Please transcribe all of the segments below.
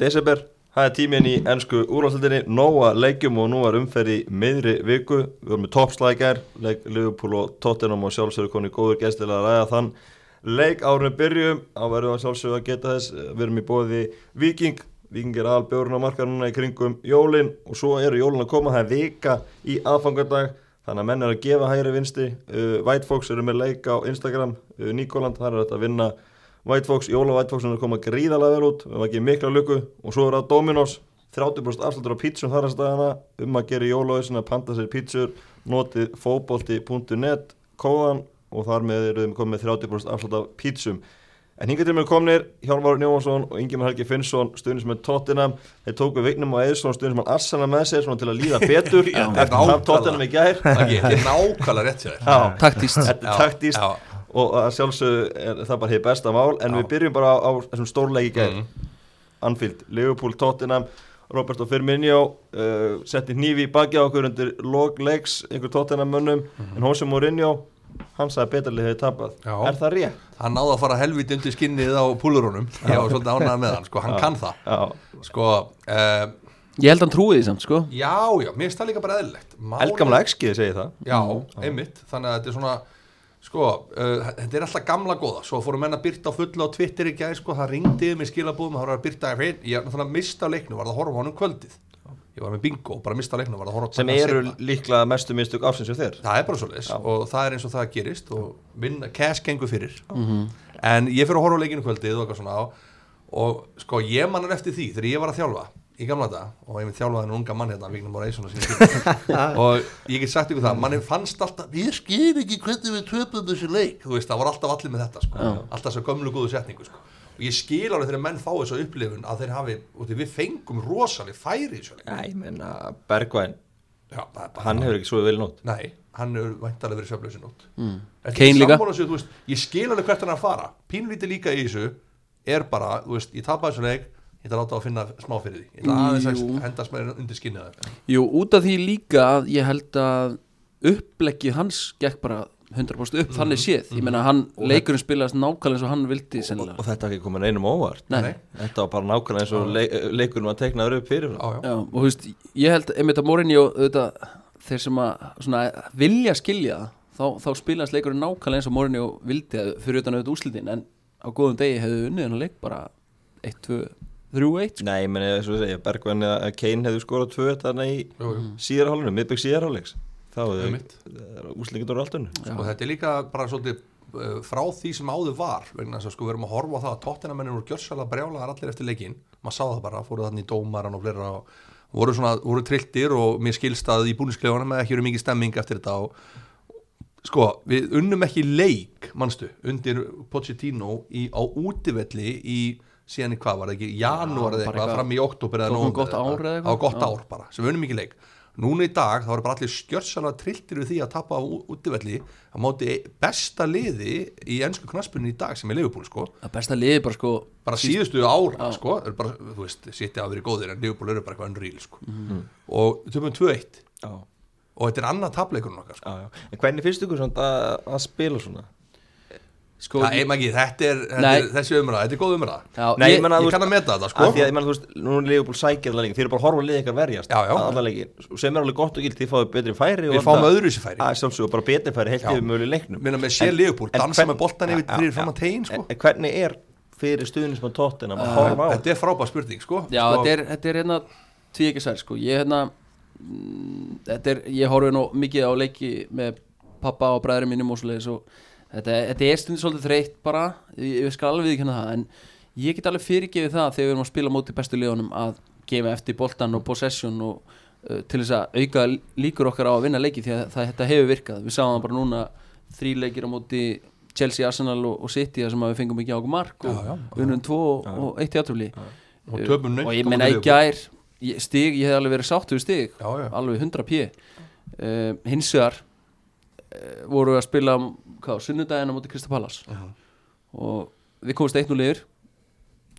desember Það er tíminn í ennsku úrvalstildinni Nóa leikjum og nú var umferð í miðri viku Við vorum með toppslækjar Leik Liverpool og Tottenham og sjálfsögur koni góður gæstilega að ræða þann Leik árunum byrjum Á verðum að sjálfsögur að geta þess Við erum í bóði Viking Viking er albjörn á marka núna í kringum jólin Og svo eru jólin að koma Það er vika í aðfangardag Þannig að menn er að gefa hægri vinsti uh, White Fox eru með leik á Instagram uh, Nikoland, þar er þetta að vinna White Fox, Jóla White Fox er að koma gríðarlega vel út Við erum að gefa mikla luku og svo er það Dominos 30% afslutur á pítsum þar að staðana um að gera jólaauðsinn að panta sér pítsur notið fótbolti.net kóðan og þar með erum við komið með 30% afslut af pítsum En hingað til mér komnir Hjálmar Njóhansson og Ingemar Helgi Finnsson stuðnins með Tottenham þeir tóku Vignum og Eðsson stuðnins með Arsenal með sér svona til að líða betur Já. eftir tap Tottenham í gær Það er nákvæmlega rétt hjá þér Já, Taktist þetta Já, er taktíst já. og að sjálfsögðu er það bara hér besta mál en Já. Mhm. við byrjum bara á, á þessum stórleiki gæð mm. Anfield, Liverpool, Tottenham Roberto Firmino uh, setti hnífi í baki á okkur undir loglegs einhver Tottenham mönnum en Jose Mourinho, hann sagði að betalið hefði tapað, Já. er það rétt? Hann náði að fara helviti undir skinnið á púlurunum Ég var svolítið ánægð með hann, sko, hann kann það Já, Sko, uh, Ég held hann trúið því samt sko já, já, mér finnst það líka bara eðlilegt Málið- eldgamla Mm. XG segir það Já, einmitt, þannig að þetta er svona sko, uh, þetta er alltaf gamla góða svo fórum menn að byrta á fullu á Twitter í gæð sko, það ringdiði mig skilabúðum, það voru að byrta ég er náttúrulega mista á leiknum, var það að horfa á honum kvöldið ég var með bingo, bara mista á leiknum var það að horfa á sem hann eru seinna. líklega mestu mistök afsins og þér það er bara svo leis og það er eins og það gerist og vinna, cash gengur fyrir en ég fyrir að horfa á leikinu kvöldið og eitthvað svona á og sko ég mannar eftir því þegar ég var að þjálfa í gamla dag og ég minn þjálfaði en unga mann hérna Vignum Móra Eysson á sínum tíma. og ég get sagt ykkur það, manni fannst alltaf ég skil ekki hvernig við töpum þessu leik þú veist það voru alltaf allir með þetta sko. alltaf þessu gömlu góðu setningu sko. og ég skil alveg þegar menn fá þessu upplifun að þeir hafi, út í- við fengum rosaleg færi í þessu leik Já, ég menna Bergvæn, Já, það er bara- hann hefur ekki svo vel nót Nei, hann er væntalega verið sveflausin út mm. Kane líka. sér, þú veist, Ég skil alveg hvert hann er að fara Pínlítið líka í þessu er bara, þú veist, ég tapa þessu leik Ég ætla að láta að finna smá fyrir því Ég ætla aðeins að Jú. hendast með undir skinnið þér Jú, út af því líka að ég held að uppleggi hans gekk bara 100% upp þannig séð Ég meina hann, leikurinn spilaðist nákvæmlega eins mhm. og hann vildi sennilega og þetta er ekki komin einum á óvart Nei, Þetta var bara nákvæmlega eins og leik, leikunum að tekna upp fyrir Já, já, já, og þú veist, ég held einmitt að Morinni og auðvitað þeir sem að svona, vilja skilja það, þá, þá spilaðist leikurinn nákvæmlega eins og Morinni og vildi að- fyrir utan auðvitað úslitin en á góðum degi hefðu unnið hann leik bara 1, 2, 3, 1 Nei, menn ég svo segja, Bergvann eða Kane hefðu skorað tvö þarna í jú, jú síðarhálunum, miðbygg síðarhálegs þá hefðu Einmitt. úslingindur á allt unnu Og þetta er líka bara svolítið uh, frá því sem áður var vegna þess að sko við erum að horfa á það að tóttinamennir voru gjörsalega brjálaðar allir eftir leikinn maður sá það bara, fóruð þannig í dómaran og fleira og voru svona, voru trilltir og mér skilst að í búninskleifunum eða ekki eru mikið stemming eftir þetta og sko, við unnum ekki leik, manstu undir Pochettino í, á útivelli í síðan í hvað var það ekki, janúar eða bara eitthvað, eitthvað. fram í oktober eða Tókum nóvember gott ár eða eitthvað. á gott Já. ár bara, sem við unnum ekki leik núna í dag þá eru bara allir skjörsalega trilltir við því að tapa á ú- útivelli að móti besta liði í ennsku knaspunni í dag sem er Liverpool sko að besta liði bara sko bara síðustu ára sko er bara, þú veist, sitja að vera góðir en Liverpool eru bara eitthvað unreal sko Mhm. og töfum 2-1 Já, og þetta er annað tapleikurinn okkar sko. já, já En hvernig finnst ykkur svona að, að spila svona? sko það er maður ekki, þetta er, þetta Nei. er þessi umræða, þetta er góð umræða Já, Nei, ég, ég menna að ég þú kann veist að meta þetta sko Af því að ég menna, þú veist, nú er Leopold sækjað leikin, þið eru bara að horfa að liða ykkar verjast Já, já. alla leikin, sem er alveg gott og gilt, þið fáið betri færi og við annað. fáum öðru sér færi Að sjálfsögur, bara betri færi heilt Já. yfir möguleg leiknum Meina, með sér Liverpool, en dansa hvern- með boltan yfir Já, fyrir já, fram að tegin sko Uh, En, en hvernig er fyrir stuðnismann tóttina að horfa á þetta er frábæð spurning sko Já, sko, þetta er, þetta er hérna tví ekki sær sko Ég hérna mm, þetta er, Ég horfi nú mikið á leiki með pappa og bræðri mínum og svoleiðis og þetta, þetta er stundin svolítið þreytt bara Ég, ég skal alveg ekki hérna það en ég get alveg fyrirgefið það þegar við erum að spila á móti bestu liðunum að gefa eftir boltan og possession og uh, til þess að auka líkur okkar á að vinna leiki því að það, þetta hefur virkað Við sáum það bara núna þrí leikir á móti Chelsea, Arsenal og, og City þar sem að við fengum ekki á okkur mark og Já, já, unnum tvo og, og eitt í aðtrúli og töpum naumt og á ég meina móti í Liverpool. gær ég- stig, ég hef alveg verið sáttu stig Já, já. alveg 100 p uh, hins vegar uh, voru við að spila hvað, á sunnudaginn á móti Kristapalas og við komumst eitt nú liður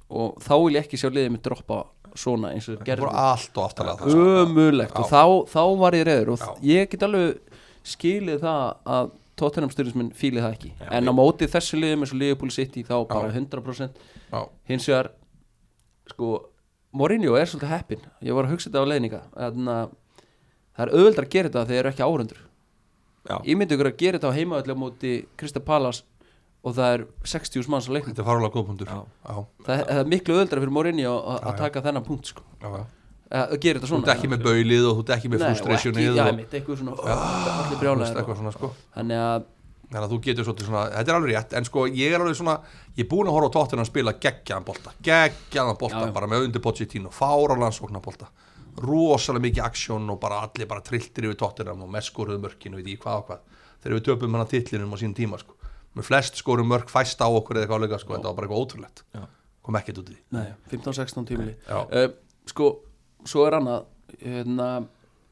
og þá vil ég ekki sjá liðið mitt droppa svona eins og þeir Það gerðu voru allt og aftalega það sko. ömulegt og þá, þá var ég reyður og Já. ég get alveg skilið það að Tottenham styrnismin fílið það ekki en á móti þessu liðum eins og Liverpool City þá bara 100% Já. hins vegar sko Mourinho er svolítið heppin ég var að hugsa þetta á leininga en að það er auðveldar að gera þetta þegar þeir eru ekki áhundur Já. ég myndi ykkur að gera þetta á heimaðallega móti Krista Palas og það er 60 manns á leiknum Þetta er farulega góð punktur Já, já, það, það er miklu auðveldar fyrir Mourinho að- Já, að já. taka þennan punkt sko. já, já. að að gera þetta Þú svona ert ekki með baulið og þú ert ekki með Nei, og frustrationið ekki- já, og- Ah, einmitt, eitthvað svona allir Þú veist, brjálæðir eitthvað svona sko þannig að Þannig að þú getur svolítið svona, þetta er alveg rétt En sko, ég er alveg svona, ég er búin að horfa á tóttina að spila geggjaðan bolta, geggjaðan bolta Já, já. bara með undir Pochettino, fáralansóknar bolta rosalega mikið aksjón og bara allir bara trilltir yfir tóttina og mest skoruðu mörkin og veit ég hvað og hvað þegar við töpum hann að titlinum á sínum tíma sko. með flest skoruðu mörk fæst á okkur eða eitthvað álega sko, þetta var bara eitthvað ótrúlegt Já. kom ekkert út í því 15-16 tímili Já. uh, sko, svo er annað hérna,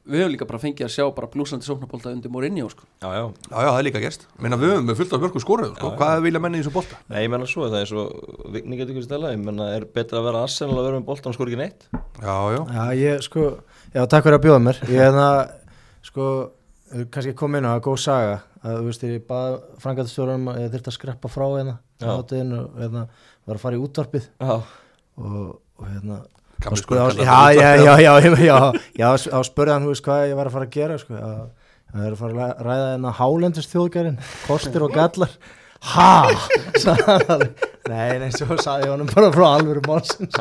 við höfum líka bara fengið að sjá bara blúsandi sóknabólda undir Mourinho sko. Já, já, Já, já, það er líka gerst, Ég meina við höfum með fullt af mörku skoruðu sko. hvað vilja menni í þessum bolta? Nei, ég menna svo, það er svo Vigni getur ekki stela, ég menna er betra að vera Arsenal að vera með boltan skor ekki neitt Já, já, Já, ég sko, já, takk fyrir að bjóða mér Ég er það, sko kannski kom inn á það, góð saga að, þú veist, ég bað frangatastjórum að ég þurfti að skreppa frá hérna Já. átiðin og hérna, var að fara í útvarpið Já, og, og hérna Gamli og skurkall, já, þetta já, útvarpið. já, já, já, já, já, já spurði hann, þú veist, hvað ég var að fara að gera sko, að, að ég var að fara að læ- ræða hérna hálendist þjóðgærin, kostir og gallar ha, sagði hann alveg. nei, nei, svo sagði ég honum bara frá alvöru málsins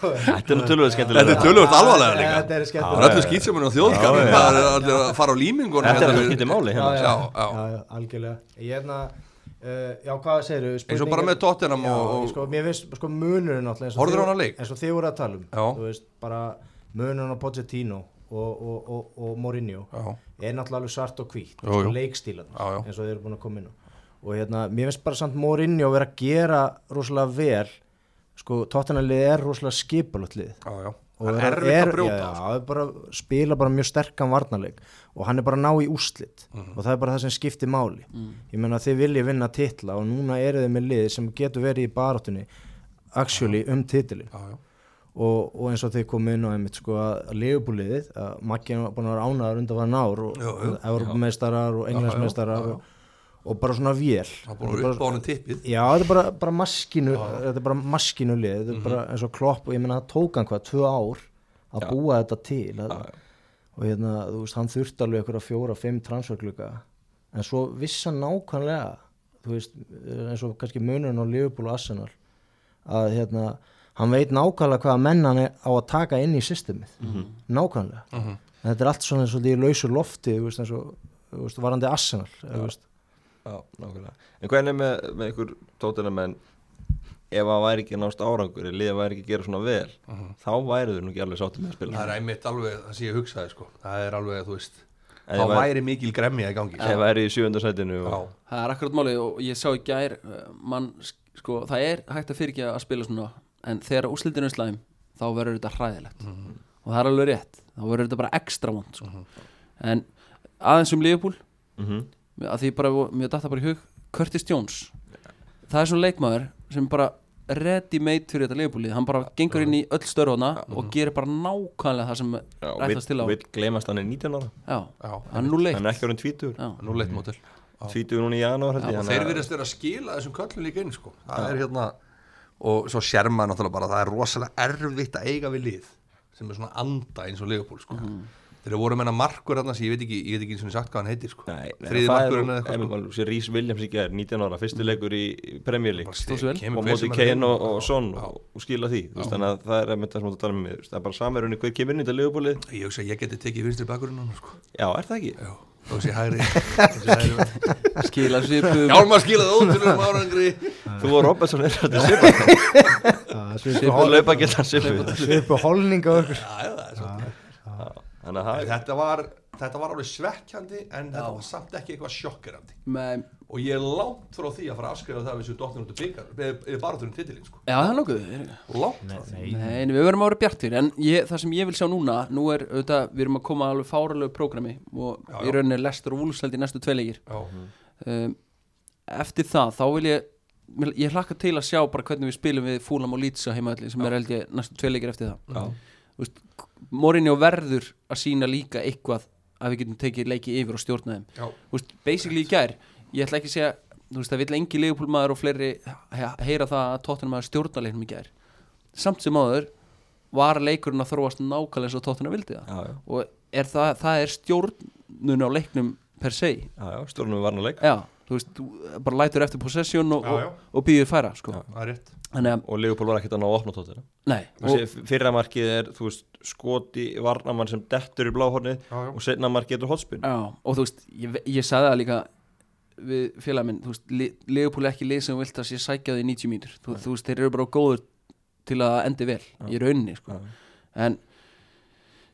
þetta er nú tölvöð skemmtilega Þetta er tölvöld alvarlega Já, líka þetta er skemmtilegt. Það er allir skýtseminu og þjóðgarinn Það er allir að fara á límingun Þetta er það skipti máli já, hérna já, Já, já, já. já, já, algjörlega ég er hérna, uh, já hvað segirðu Eins og bara með Tottenham já, og- og- sko, mér finnst sko munurinn alltaf eins og Horfðirðu á þið- hann á leik? eins og þið voru að tala um Já. þú veist, bara munurinn á Pochettino og, og, og, og Mourinho Já. er náttúrulega alveg svart og hvít Jú, jú. leikstílan Já, já. eins og þið eru búin að koma inn á og hérna, mér finnst bara samt Mourinho vera að gera rosalega vel sko, tóttanalið er rosalega skipulögt lið Já, já og Það er er, erfitt að já, já, brjóta sko. er bara, spila bara mjög sterkan varnarleik og hann er bara að ná í úslit Mhm. og það er bara það sem skiptir máli ég meina þið viljið vinna titla og núna eru þið með lið sem getur verið í baráttunni actually um titilin Já, já. og, og eins og þið komið inn á einmitt sko að legubúliðið að Maggi er búin að vera ánaður undan var nár og Jú, jú. Evropameistarar og Englandsmeistarar og, og bara svona vél Það er búin að upp á honum tippið Já, þetta er bara, bara maskinu þetta er bara maskinu lið þetta er bara eins og klopp og ég meina það tók hann hvað, tvö ár að búa þetta til að, og hérna, þú veist, hann þurfti alveg einhverja fjóra, fimm transferkluka en svo vissan nákvæmlega þú veist, eins og kannski munurinn á Liverpool og Arsenal að hérna, hann veit nákvæmlega hvaða menn hann er á að taka inn í systemið nákvæmlega Mhm. en þetta er allt svona eins og því lausu lofti þú veist, eins og, þú veist, varandi Arsenal þú veist Já, nákvæmlega En hvernig er með, með ykkur tóttina menn ef það væri ekki að nást árangur eða liða væri ekki að gera svona vel þá væri þau nú ekki alveg sáttum með að Það spila er einmitt alveg, það sé ég hugsaði sko Það er alveg, þú veist Ef Þá það væri- væri mikil gremja í gangi sko. ef það er í sjöfundarsætinu Já, og... það er akkurat málið og ég sá í gær eh, mann, sko, það er hægt að fyrirgefa að spila svona en þegar úslitinu er slæm þá verður þetta hræðilegt Mhm. og það er alveg rétt, þá verður þetta bara ekstra vond sko. en aðeins um Liverpool Mm að því bara, mér datta bara í hug Curtis Jones það er svona leikmaður sem bara ready made fyrir þetta leifbúlið, hann bara gengur inn í öll störfuna og gerir bara nákvæmlega það sem Mhm. Já, rættast til á vill, vill gleymast hann er 19 ára já, já hann er nú leitt hann er ekki orðin 20 já, Nú leitt mótil 20 núna í janúar held ég Og þannig þeir að- virðast vera að skila þessum köllum líka inn sko Það er hérna Og svo sér maður náttúrulega bara að Það er rosalega erfitt að eiga við lið Sem er svona anda eins og legupól sko Mhm. Þeir voru meina markur annars, ég veit ekki, ég veit ekki eins og sagt hvað hann heitir sko Nei, nei, Þriði það er markurinn nú- eða eitthvað sko. ef maður sé Rhys Williams ekki er 19 ára, fyrsti leikur í í Premier League Bara stig, svo vel. kemur og hver móti sem er Kane inn. og, og Son og, og skila því, þú veist, þannig að það er einmitt það sem þú ert að tala um mig, það er bara samerunni hver kemur inn í þetta liðbúlið, Ég hugsa að ég geti tekið vinstri bakurinn hann sko já, er það ekki? Já, þó sé hægri þó sé hægri vörn. skila svipum Hjálmar skilaði ótrúlega árangri Þú og Robertson er þetta svipa svipa laupa geta svipu upp á holninga og okkur Já, já, það er svolítið. þannig að það er Þetta var Þetta var alveg svekkjandi en þetta var samt ekki eitthvað sjokkerandi með, og ég er langt frá því að fara að afskrifa það að við séum dottnum út í byggar eða bara þurfum titilinn sko já, það er nokkuð langt frá því Nei, en við verðum að vera bjartir en ég, það sem ég vil sjá núna nú er, auðvitað, við erum að koma alveg fáralegu prógrami og Já, í já. rauninni lestur og úlsælt í næstu tveilegir Já, um, eftir það þá vil ég vil- ég hlakka til að sjá bara hvernig við spilum við Fúlam og Lítsa heimaðli sem er held ég næstu tveileikir eftir það Þú veist, Morinni og verður að sína líka eitthvað að við getum tekið leiki yfir og stjórna þeim Já. Þú veist, basically í gær ég ætla ekki að segja þú veist það vill engi leigupólmaður og fleiri he- heyra það að tóttunum að stjórna leiknum í gær samt sem áður var leikurinn að þróast nákvæmlega eins og tóttina vildi það já, já, og er það, það er stjórnun á leiknum per se já, já stjórnum við varnarleik já, þú veist, þú bara lætur eftir possession og, Já, já. og, og býður færa sko. Já. það er rétt þannig að, og Leopold var ekkert að ná að opna tóttina nei og, og fyrra markið er, þú veist, skoti varnamann sem dettur í bláhornið Já, já. og setna markið er hotspinn já, og þú veist, ég, ve- ég sagði það líka við félagin minn, þú veist, Leopold er ekki lið sem þú vilt að sé sækja því 90 mínir þú, þú veist, þeir eru bara góður til að endi vel í rauninni sko. Já. en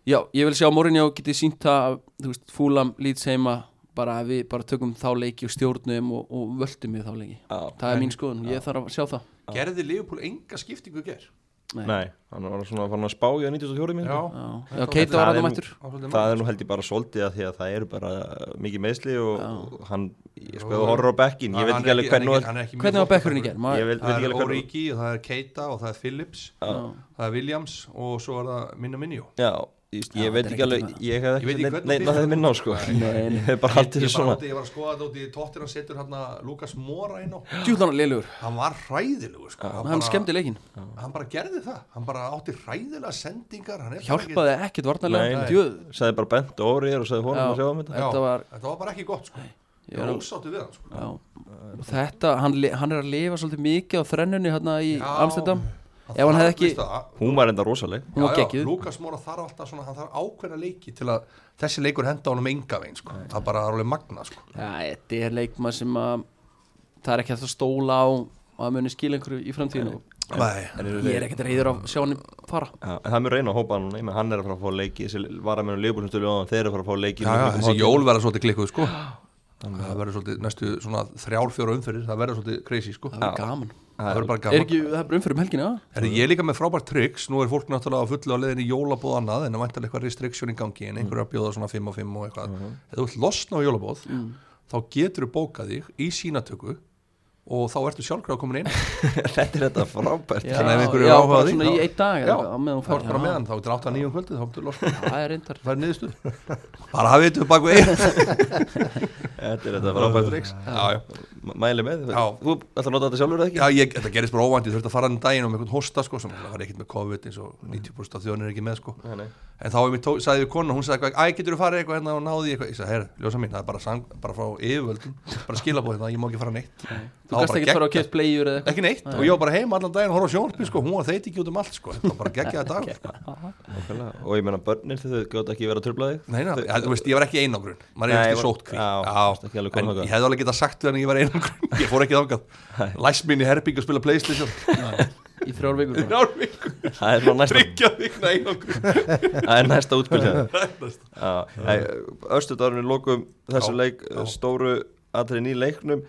já, ég vil sjá Mourinho geti sínt það, þú veist, fúlam lít heima bara að við bara tökum þá leiki og stjórnum og, og völdum við þá leiki það er mín skoðun, ég þarf að sjá það gerði Liverpool enga skiptingu í ger Nei, hann var svona farin að spá í að 94 minn Já, þetta já var- Keita var Það er aðeins nú- mættur Það er nú held ég bara svolítið að því að það eru bara uh, mikið meðsli og og hann, ég sko, þú horfir á bekkin, ég veit ekki alveg hvernig er- Hvernig var bekkurinn í gerð? ég veit veit Það ekki er alveg hvernig Origi og það er Keita og það er Phillips það er Williams og svo er það Minna Minjó Já, ég, Já, ég veit þetta er ekki alveg, ekkert ég hef Ég veit ekki ekki neinn- neinn hvernig byrjar að þeim minna á þetta. sko Nei, Ég hef bara haldið þessu ég, bara svona átti- ég var að skoða þetta út í tóttir hann setur hérna Lukas Mora inn á Djúðlána liðlugur, hann var hræðilegu sko. hann, hann skemmdi leikin hann bara gerði það, hann bara átti hræðilega sendingar hann er bara Hjálpaði ekkert varnarlega Nei. Djöð, Sagði bara bent og orðið og sagði honum Já. að sjá um ekki, þetta já, þetta þetta, var- var... bara ekki gott sko. ég ég er var á- ósáttu við hann sko. já. Og þetta, hann, li- hann er að lifa svolítið mikið á þrennunni hérna í Já. Amsterdam Ef hann hefði ekki- Hún var enda rosaleg Hún var geggjuð. Lukas Mora þarf alltaf svona, hann þarf ákveðna leiki til að þessi leikur henda honum enga veginn sko. það er bara alveg magna sko. Já, Þetta er leikmað sem að það er ekki hægt að stóla á að muni skila einhverju í framtíðinu Nei, Ég er ekkert reyður að sjá hann fara Já, en það er mjög reyna að hópa hann núna, ég meina, hann er að fara að fá leiki, þessi varamennu lífbúr sem stölu á hann, þeir eru að fara að fá leiki já, já, þessi jól verða svolítið klikkuð sko. það verður svolítið næstu svona þrjár, fjóra umferðir, það verður svolítið crazy sko. Það verður gaman það verður bara Er gaman ekki, það er bara umfyrir um helgina Herri, ég er líka með frábært tryggs, nú er fólk náttúrulega á fullu á leiðin í jólabóð annað en það vantar eitthvað restriksjón í gangi en einhverju að bjóða svona 5 og 5 og eitthvað ef þú ert losna á jólabóð þá getur þú bókað þig í sínatöku og þá ertu sjálfgráð komin inn Þetta er þetta frábært Já, Þannig ef einhverju já er áhuga á bara því, svona í þá- einn dag Já, eða eitthvað, á meðan hún þá fer. ertu bara Já, meðan, þá ertu 8 að 9 um kvöldið, þá ertu losna Það er reyndar það er niðurstuð bara hafið þetta bak við einn. Þetta er þetta frábært reiks já, já. Mæli með, Já. þú ætlar að nota þetta sjálfur eða ekki? Já, ég, þetta gerist bara óvænt, ég þurfti að fara enn daginn og með einhvern hosta sko, sem var ekkert með COVID eins og 90% af þjóðin er ekki með sko. Mhm. Nei, nei. En þá einmitt tó- sagði við konu, hún sagði eitthvað, æ, getur þú farið eitthvað hérna og náði ég eitthvað, ég sagði, herra, ljósa mín, það er bara, sang, bara frá yfirvöldum, bara skilabóð hérna, ég má ekki fara neitt. Þú gast ekki að fara að kjöft blegjur eða eitthvað Ekki neitt, og ég var bara heima allan daginn og horfa á sjónarpið, sko, hún var þeiti ekki út um allt, sko, þetta var bara geggjaði dag. sko. Nákvæmlega. Og ég meina börnir þau gátt ekki verið að tröfla þig Nei, na, ja, þú veist, ég var ekki í einangrun, maður Nei, er ég eftir var- sótkví. já, varst ekki alveg komin en þangað. ég hefði alveg getað sagt við hann að ég var í einangrun, ég fór ekki þangað. Læst mín í herbyggja að spila Playstation, í þrjár vikur bara. þrjár vikur, Það er svona næsta, tryggja vikna einangrun. það er næsta útbyrð Þetta- Östudarunni lókum þessu Já, leik já. stóru atriðin í leiknum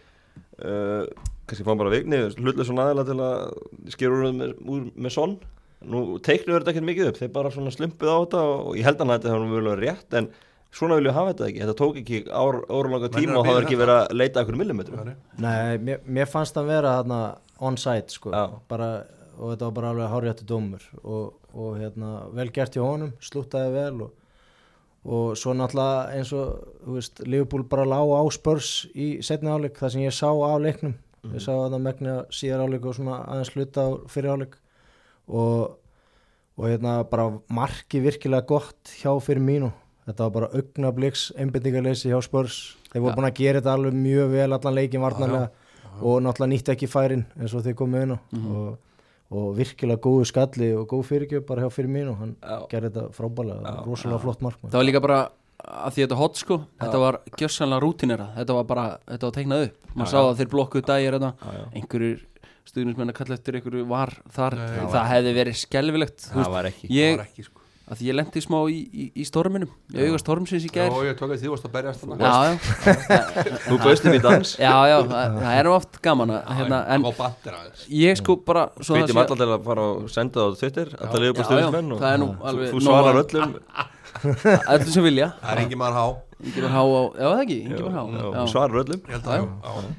Uh, kannski fáum bara vigni hlutlega svona aðila til að skera úr með, úr með sonn nú teiknum verður þetta ekkert mikið upp þeir bara svona slumpuð á þetta og og ég held að hann hætti það var mjög rétt en svona viljum við hafa þetta ekki þetta tók ekki ár, áralanga Menn eru tíma að og það bíða var ekki þetta. verið að leita okkur millimetru Nei. Nei, mér, mér fannst hann vera þarna on site sko Já. bara, og þetta var bara alveg hárjættu dómur og, og hérna, vel gert hjá honum slúttaði vel og, og svo náttúrulega eins og þú veist, Liverpool bara lág á spörs í setni áleik, það sem ég sá á leiknum ég sá þarna megna síðar áleik og svona aðeins hluta á fyrir áleik og, og hérna bara marki virkilega gott hjá fyrir mínu þetta var bara augnabliks einbindingarleysi hjá spörs þeir voru búin að gera þetta alveg mjög vel allan leikin varnarlega og náttúrulega nýtti ekki færin eins og þeir komu inn á og, og virkilega góðu skalli og góð fyrirgjöf bara hjá fyrir mínu hann Já. gerði þetta frábælega, rosalega flott mark það var líka bara að því þetta hot sko þetta var gjössanlega rútinera þetta var bara, þetta var teiknað upp maður sá að þeir blokkuðu dægir þetta einhverjur stuðnismenn að kalla eftir einhverju var þar, það hefði verið skelvilegt það var ekki Það ég, var ekki, sko. að því ég lendi smá í, í, í storminum ég auga stormsins í Já, gær já, ég tók að því varst að berjast þarna. já, þú bauðstum í dans já, já það, það er nú oft gaman að, hérna, en Á batter aðeins. ég sko bara svo það Hveitum sé- alla til að fara og senda það á Twitter Alla liðbúr Já, já, stjórnismenn og það er nú þú- alveg Þú nóg svarar að- öllum öllum sem vilja Það er engin maður há. Ingibur Há á, já það ekki, Ingibur Há Já, já. Þú svarar öllum Ég held að, já.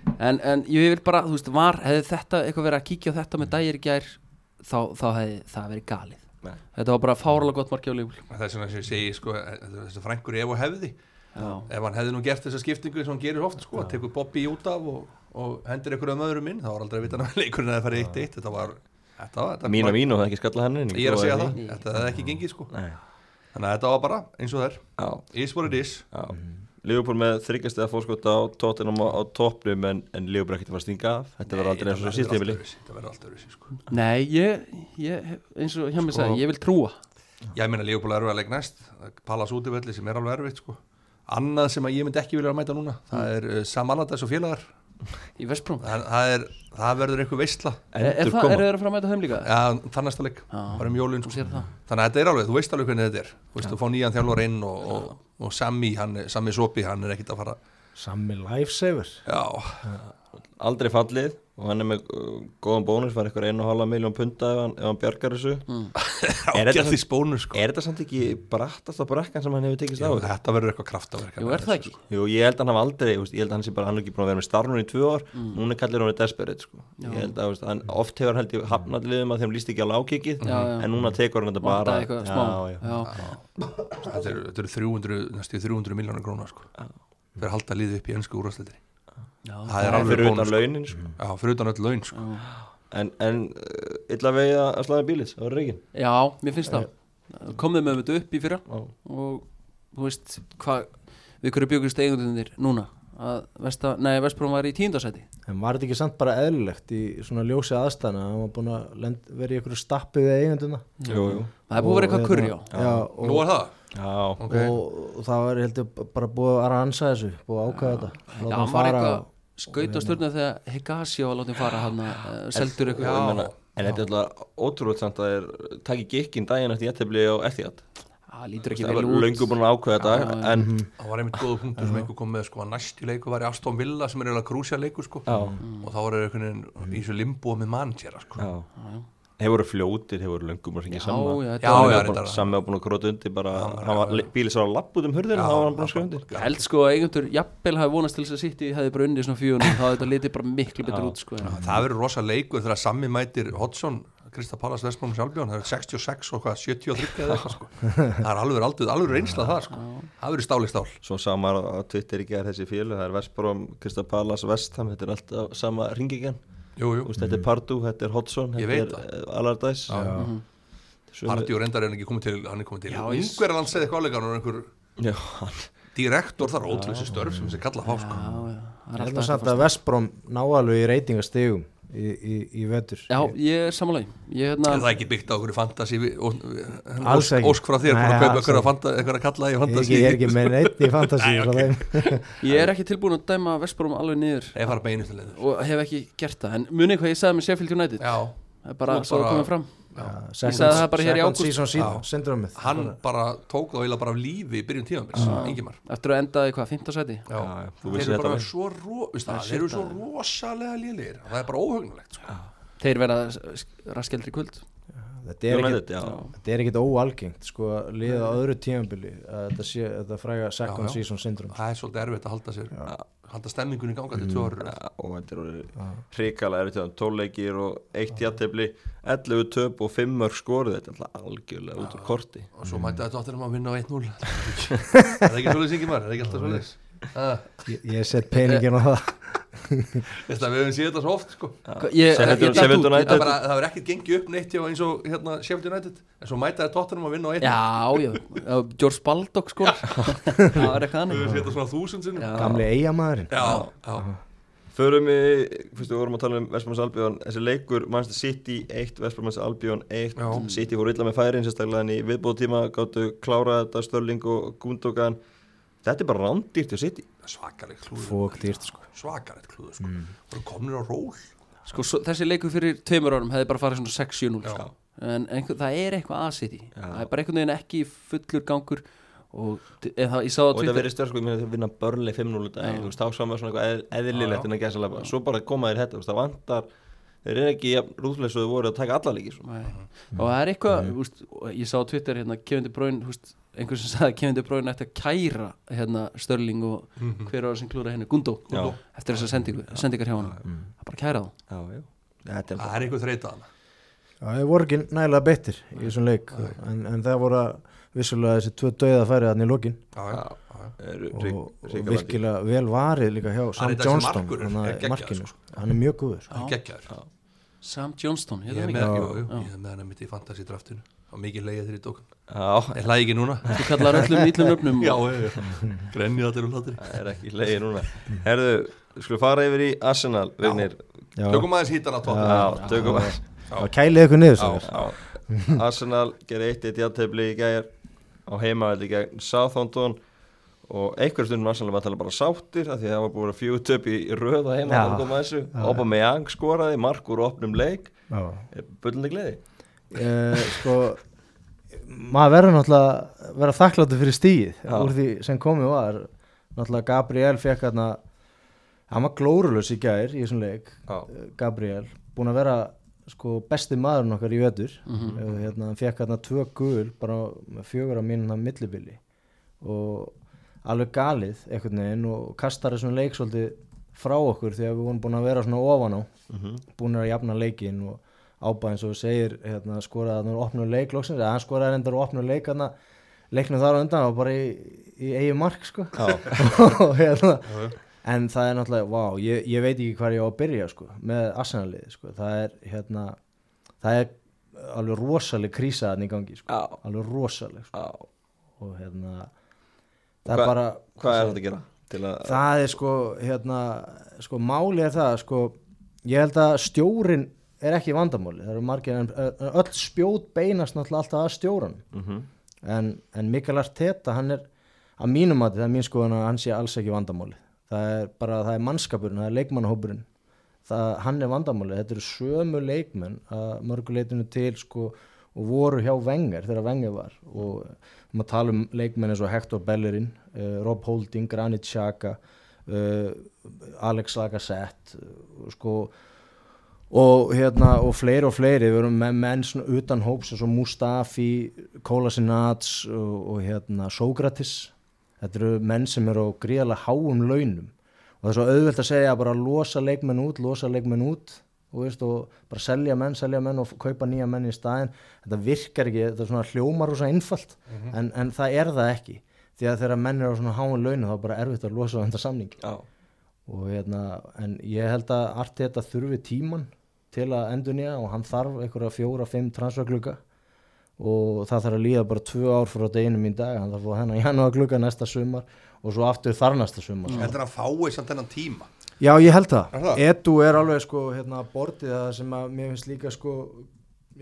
já. en, en ég vil bara, þú veist, var hefði þetta eitthvað verið að kíkja á þetta með dagir í gær þá, þá hefði það verið galið Nei. þetta þetta var bara fáralega gott marki á líful Það er svona sem ég segi, sko, þessi frængur ef og hefði. já, Ef hann hefði nú gert þessa skiptingu sem hann gerir oft, sko, tekur Bobby út af og, og hendir einhverjum öðrum inn, þá var aldrei að vita hann að leikurinn að það farið eitt eitt. Þetta var Þetta var, þetta Mín sko, bara- og mín og það ekki skalla henni Ég er að segja það, Nei. þetta hefði ekki gengið sko Nei. Þannig að þetta var bara eins og það er Já, Is what it is já Liverpool með þryggjast eða fórskota á tóttinum á, á toppnum en, en Liverpool ekkert var að stinga af Þetta verður aldrei eins og síst heimili Þetta verður alltaf öðruvísi sko Nei, ég, ég hef- eins og hjá mig Sko- sagði, ég vil trúa Ég meina Leopold er erfið að leik næst Pallas útivelli sem er alveg erfitt sko Annað sem að ég myndi ekki vilja að mæta núna Það er uh, samanlætas og félagar í Vestbrún það, það, er, það verður einhver veistla Er, er Endur það, eru koma þeir að fara að mæta þeim líka? ja, Þann næsta leik, Já. bara um jólun sko. Þú sér það. Þannig að þetta er alveg, þú veist alveg hvernig þetta er Þú veist, þú fá nýjan þjálfur inn og, og, og Sami, hann, er- Sami Sopi, hann er ekkit að fara Sammi lifesaver Já, Aldrei fallið og hann er með uh, góðan bónus fyrir eitthvað einu og halva miljón punta ef hann, ef hann bjargar þessu Mm. Er þetta- ágætt í spónu sko Er þetta samt ekki brattast á brakkan sem hann hefur tekist á? Þetta verður eitthvað kraftaverk Jú, er það ekki? Jú, ég held að hann hafa aldrei, þú veist, ég held að hann sé bara hann er ekki búin að vera með starfnum í tvö ár Mm. núna kallir hann desperate, sko ég held að þú veist, hann, oft hefur hann held ég hafnað liðum að þeim líst ekki á lágkikið, Já, já. en núna tekur hann þetta Vanda bara eitthvað smá já, já. já. Þetta eru þetta eru 300, næstu 300 miljónar grónar sko Fyrir að halda liðið upp í ennsku úrvarsleitri Já. Það er alveg fyrir bónus, utan sko. launin, sko Já, fyrir utan öll laun sko en, en uh, illa vegi að að slaga bílis, það var reikin já, mér finnst það Komðið með þetta upp í fyrra og þú veist hvað við hverju byggust eigundunir núna að Vesta, nei, Vestbrún var í tíundasæti En var þetta ekki samt bara eðlilegt í svona ljósi aðstæðna að hann var búin að lend, vera í einhverju stappi við eigenduna Jú, jú Það er búið að vera eitthvað Og, kurri á hérna, Já, og, Nú er það Já, Ok. og, og það var heldur bara búið að ransa þessu búið að ákvæða þetta Já, láta hann hann var fara eitthvað og- skaut á stjórna þegar Higasi var látið fara hann að Ah, eh, Ég seldur eitthvað meina, En þetta er alltaf ótrúlega samt að það er takki gikkin daginn eftir jættefli og eftir jætt Það Ah, lítur ekki Það vel var út löngu búin að ákveða þetta en Það var einmitt góða punktur sem einhver kom með sko að næsti leiku var í Aston Villa sem er eiginlega krúsja leiku sko Já. og þá voru einhvern veginn í þessu limbo með manntjara sko Já. Þeir voru fljótir, þeir voru löngum að ringja saman já, þetta Já, var- já, reyndar. Sammi var búin að gróta undir bara hann var bílis á lapp út um hurðina þá var hann búin að skrifa undir Ég held sko að eigundur jafnvel hafi vonast til þess að City hefði bara unnið svona fjóðunum þá hefði þetta litið bara miklu betur út sko en- Það verður rosa leikur þegar Sammi mætir Hodson, Krista Pallas Vestmum Sjálfjón það er 66 og hvað, 73 eða eitthvað sko Það er alveg, alveg, alveg reynslað það sko Það verður stáli stál Svo sama er á Twitter í gerð þessi fjölu það er Vestbróm, Krista Pallas, Vestham þetta er alltaf sama ringingjan Jú, jú, Úst, Þetta er Pardú, þetta er Hodson, Ég þetta veit er eh, Allardyce Sömu- Parti og reyndar er hann ekki komið til hann er komið til Já, ég- Ungverðan segði eitthvað áleika hann er einhver Já, hann direktor þar ótrúsi störf sem þessi kalla að fá sko Já, já, það er alltaf Ég held að hægt að samt að Vestbróm ná alveg í reytingastegum í, í, í vetur Já, ég er sammálaði Ég hérna Er það ekki byggt á einhverju fantasi Alls ekki. Ósk frá þér Nei, búin að kaupa alls einhverja ekki. fanta- einhverja kalla í Ég er fantasi ekki, ég er ekki með neitt í fantasi Nei, frá ok. þeim Ég er ekki tilbúin að dæma Vestbúrum alveg niður Ég fara beinu til leiður og hef ekki gert það en munið hvað ég sagði með Sheffield United Já, Það er bara Þú svo að bara- koma fram Second- sagði það bara hér í second ágúst. season Já. síðan, syndromið hann bara tók þá eila bara af lífi í byrjun tímamins Ingimar eftir að endaði hvað, 15 sæti Já, já, þú þeir vissir eru þetta bara vel. svo, ro, veist, það, þeir eru svo rosalega lélir það er bara óhugnulegt sko. Þeir verða raskeldri kvöld Þetta er ekkit- United, já. þetta er ekkit óalgengt sko að liða á öðru tímabili að þetta, sé, þetta fræga Já, second já. season syndrom það er svolítið erfitt að halda sér halda stemmingunni í ganga til Mm. tvö ára Já, og þetta eru hrikalega erfitt hjá þeim. 12 leikir og eitt jættefli 11 töp og 5 mörg skorið þetta er alltaf algjörlega út úr korti og Mm. svo mætti þetta áttir um að vinna á 1-0 er það ekki svolítið Ingimar, er það ekki alltaf Ah, svolítið Ég, ég set peningin á það Þetta við höfum séð þetta svo oft sko. Ég, Sheffield- ég datt Sheffield út, ég United. það datt- er bara- það verður ekkert gengið upp neitt hjá eins og hérna, Sheffield United en svo mæta þetta áttir um að vinna á 1-0 Já, já, já, George Baldock sko Það var við eitthvað annað höfum séð þetta hérna svona þúsund sinnum já, Gamli eigamæðurinn já, Förum við, fyrstu við vorum að tala um Vestbjörns Albjörn, þessi leikur Manchester City 1, Vestbjörns Albjörn 1 Já. City fór illa með færin sérstaklega en í viðbóðtíma gáttu klára þetta Störling og Gundogan Þetta er bara rándýrt hjá City svakaleg klúður Fók dýrt sko svakalegt klúður sko. voru komnir á ról Sko, svo, þessi leiku fyrir tveimur árum hefði bara farið svona 6-7-0 Já. sko. en einhver, það er eitthvað að City það er bara einhvern veginn ekki fullur gangur og eða, ég sá það á og þetta Twitter verið stjórn sko, ég meina þeir vinna börnleg 5-0 dag, þú veist, þá saman svona eitthvað eð- eðlilegt en að gæsa lefa, svo bara koma þeir þetta þú veist, það vantar, þeir eru ekki rúðlega svo þau voru að taka alla leiki svona. Nei. og það er eitthvað, úst, ég sá á Twitter hérna Kevin De Bruyne, úst, einhver sem sagði að Kevin De Bruyne ætti að kæra hérna Störling og hver ára sem klúra henni Gundó, Já. eftir þess að sendingu, sendingar hjá hann það bara kæra þá Já, já, þetta Ah. er það er einhver þreitaðan Já, þeir voru ekki nægilega beittir í þessum leik en, en það voru vissulega þessi tvö döiða færið hann í lokin er og, rík- og ríkalandi. virkilega vel varið líka hjá Sam þessi Johnston markvörður hann er að geggjaður, sko. markinu, hann er mjög góður geggjaður Sam Johnston, Ég hefði er hann með, ekki jú, jú, Já. ég er með hana mitt í fantasy draftinu og mikið leiðið þér í dókan Já, Ég hlæði ekki núna Þú kallar öllum ítlum öfnum Já, já, já. grennið allir um hlátri það er ekki leiði núna Herðu, skulum fara yfir í Arsenal Vignir, Já. Tökum aðeins hítan á topp já, tökum að Já, kælið ykkur niður Já, sér já. Arsenal gerði eitt eitt játefli í gæjar á heimavelli gegn Southampton og einhverjum stundum Arsenal var talað bara sáttir af því að það var búin að fjögut upp í röð á Já. heimavelli koma þessu, Opa Meyang skoraði mark úr opnum leik, Já. bullandi gleði Eh, sko maður verður náttúrulega verða þakkláttu fyrir stíð Já. úr því sem komið var náttúrulega Gabriel fekk hann hann var glórulös í gær í þessum leik Já. eh, Gabriel, búin að vera sko besti maðurinn okkar í vetur mm hérna, hann fekk hann tvö gul bara með fjögur á mínuna millibili og alveg galið einhvern veginn og kastar þessum leik svolítið frá okkur því að við vorum búin að vera svona ofan á Mhm. búin að jafna leikin og ábæð eins og þú segir hérna, skoraði að hann opnur leik loksins eða hann skoraði reyndar og opnur leik hann leiknum þar á undan og bara í, í eigin mark sko Og hérna, en það er náttúrulega vá, ég, ég veit ekki hvað ég á að byrja sko, með Arsenalið sko. það er hérna það er alveg rosaleg krísa hann í gangi sko. Já. alveg rosaleg sko. Já. og hérna Og það er bara Hvað er þetta að gera? Til að, það er sko hérna, sko máli er það sko, ég held að stjórin er ekki vandamáli, það eru margir en ö- öll spjót beinast náttúrulega alltaf að stjóran Mhm. en, en Mikael Arteta hann er, að mínum mati það er mín skoðan að hann sé alls ekki vandamáli það er bara, það er mannskapurinn, það er leikmannahópurinn það, hann er vandamáli þetta eru sömu leikmenn að mörguleitinu til sko og voru hjá Wenger þegar Wenger var og um að tala um leikmenn eins og Hector Bellerin, uh, Rob Holding, Granit Xhaka uh, Alex Lacazette uh, sko og hérna og fleiri og fleiri við erum með menn svona utan hóps eins og Mustafi, Kolasinac og, og hérna Sókratis þetta eru menn sem eru á gríðarlega háum launum og það er svo auðvelt að segja bara losa leikmenn út, losa leikmenn út og, veist, og bara selja menn, selja menn og f- kaupa nýja menn í staðin þetta virkar ekki, þetta er svona hljómar og svona einfalt en, en það er það ekki því að þegar menn eru á svona háum launum þá er bara erfitt að losa þetta samning já, og hérna, en ég held að Arteta þurfi tíman til að endur nýja og hann þarf einhverja fjóra, fimm transferglugga og það þarf að líða bara tvö ár frá deginum í dag, hann þarf að fá hennan janúarglugga næsta sumar og svo aftur þar næsta sumar sko. Heldur hann fáið samt þennan tíma Já, ég held það. Er það? Edu er alveg sko hérna bortið það sem að mér finnst líka sko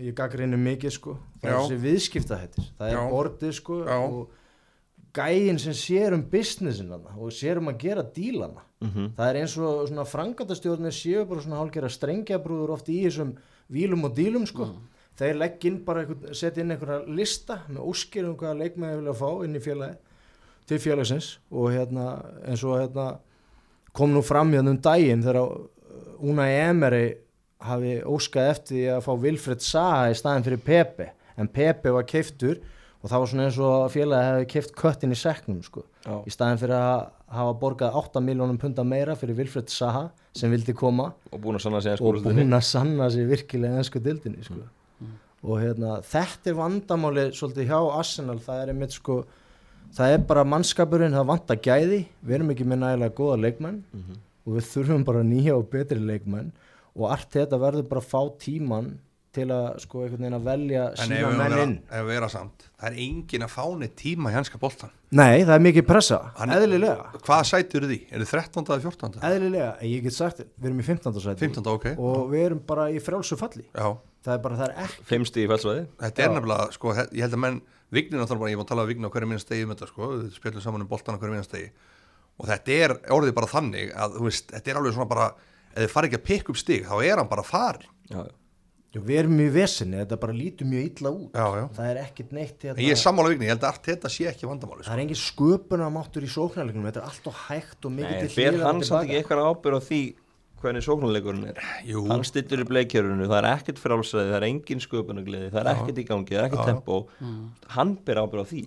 ég gaggrinni mikið sko það er Já. þessi viðskipta hættir, það er Já. bortið sko Já. og gæin sem sér um businessin hana og sér um að gera dílana Mhm. það er eins og svona frangatastjórnir séu bara svona hálgera strengjabrúður oft í þessum vílum og dílum sko þeir legg inn bara, einhvern- setja inn einhverja lista með óskir um hvaða leikmenni vilja fá inn í félagi til félagsins og hérna eins og hérna kom nú fram hérna um daginn þegar Una Emery hafi óskað eftir því að fá Vilfred Saha í staðin fyrir Pepe en Pepe var keiftur og það var svona eins og félagi hefði keift köttin í seknum sko. Já. í staðin fyrir að hafa borgað 8 miljónum punda meira fyrir Vilfred Saha sem vildi koma og búin að sanna sig að og skóruðinni búin að sanna sig virkilega ennsku dildinni sko. Mm. og hérna, þetta er vandamáli svolítið hjá Arsenal það er einmitt sko það er bara mannskapurinn, það vantar gæði við erum ekki með nægilega góða leikmenn Mhm. og við þurfum bara nýja og betri leikmenn og allt þetta verður bara að fá tíman til að sko einhvern veginn að velja En sína ef við menn vera, inn ef við vera samt Það er engin að fáni tíma í hanska boltan Nei, það er mikið pressa, eðlilega Hvað sæti eru því? Eru þið 13. eða 14. eðlilega, en ég get sagt, þér, við erum í 15. sæti 15. ok og við erum bara í frjálsu falli Já það er bara, það er ekki Fimm stíði fælsvæði Þetta er nefnilega, sko, he- ég held að menn Vignin náttúrulega bara, ég var að tala við Vignin á hverju minnast degi um þetta, sko, við spjöldum saman um boltan á hverju minnast degi og þetta er orðið bara þannig að, þú veist, þetta er alveg svona bara ef þið fari ekki að pikka upp stig, þá er hann bara farin Já, við erum í vesinni, þetta bara lítur mjög illa út Já, já. það er ekkert neitt hérna- En ég er sammála Vignin, ég held að allt þetta sé ekki vandamáli, það sko. er engin sköpunamáttur í sóknarleiknum þetta er allt og hægt og mikið Nei, til ber hliðar hann og samt tilbaka. ekki eitthvað ábyrð á því hvernig sóknuleikurinn er Jú. hann stillur í bleikjörunum, það er ekkert frálsræði það er engin sköpunagliði, það er ekkert í gangi það er ekkert tempo, Mm. hann ber ábyrð á því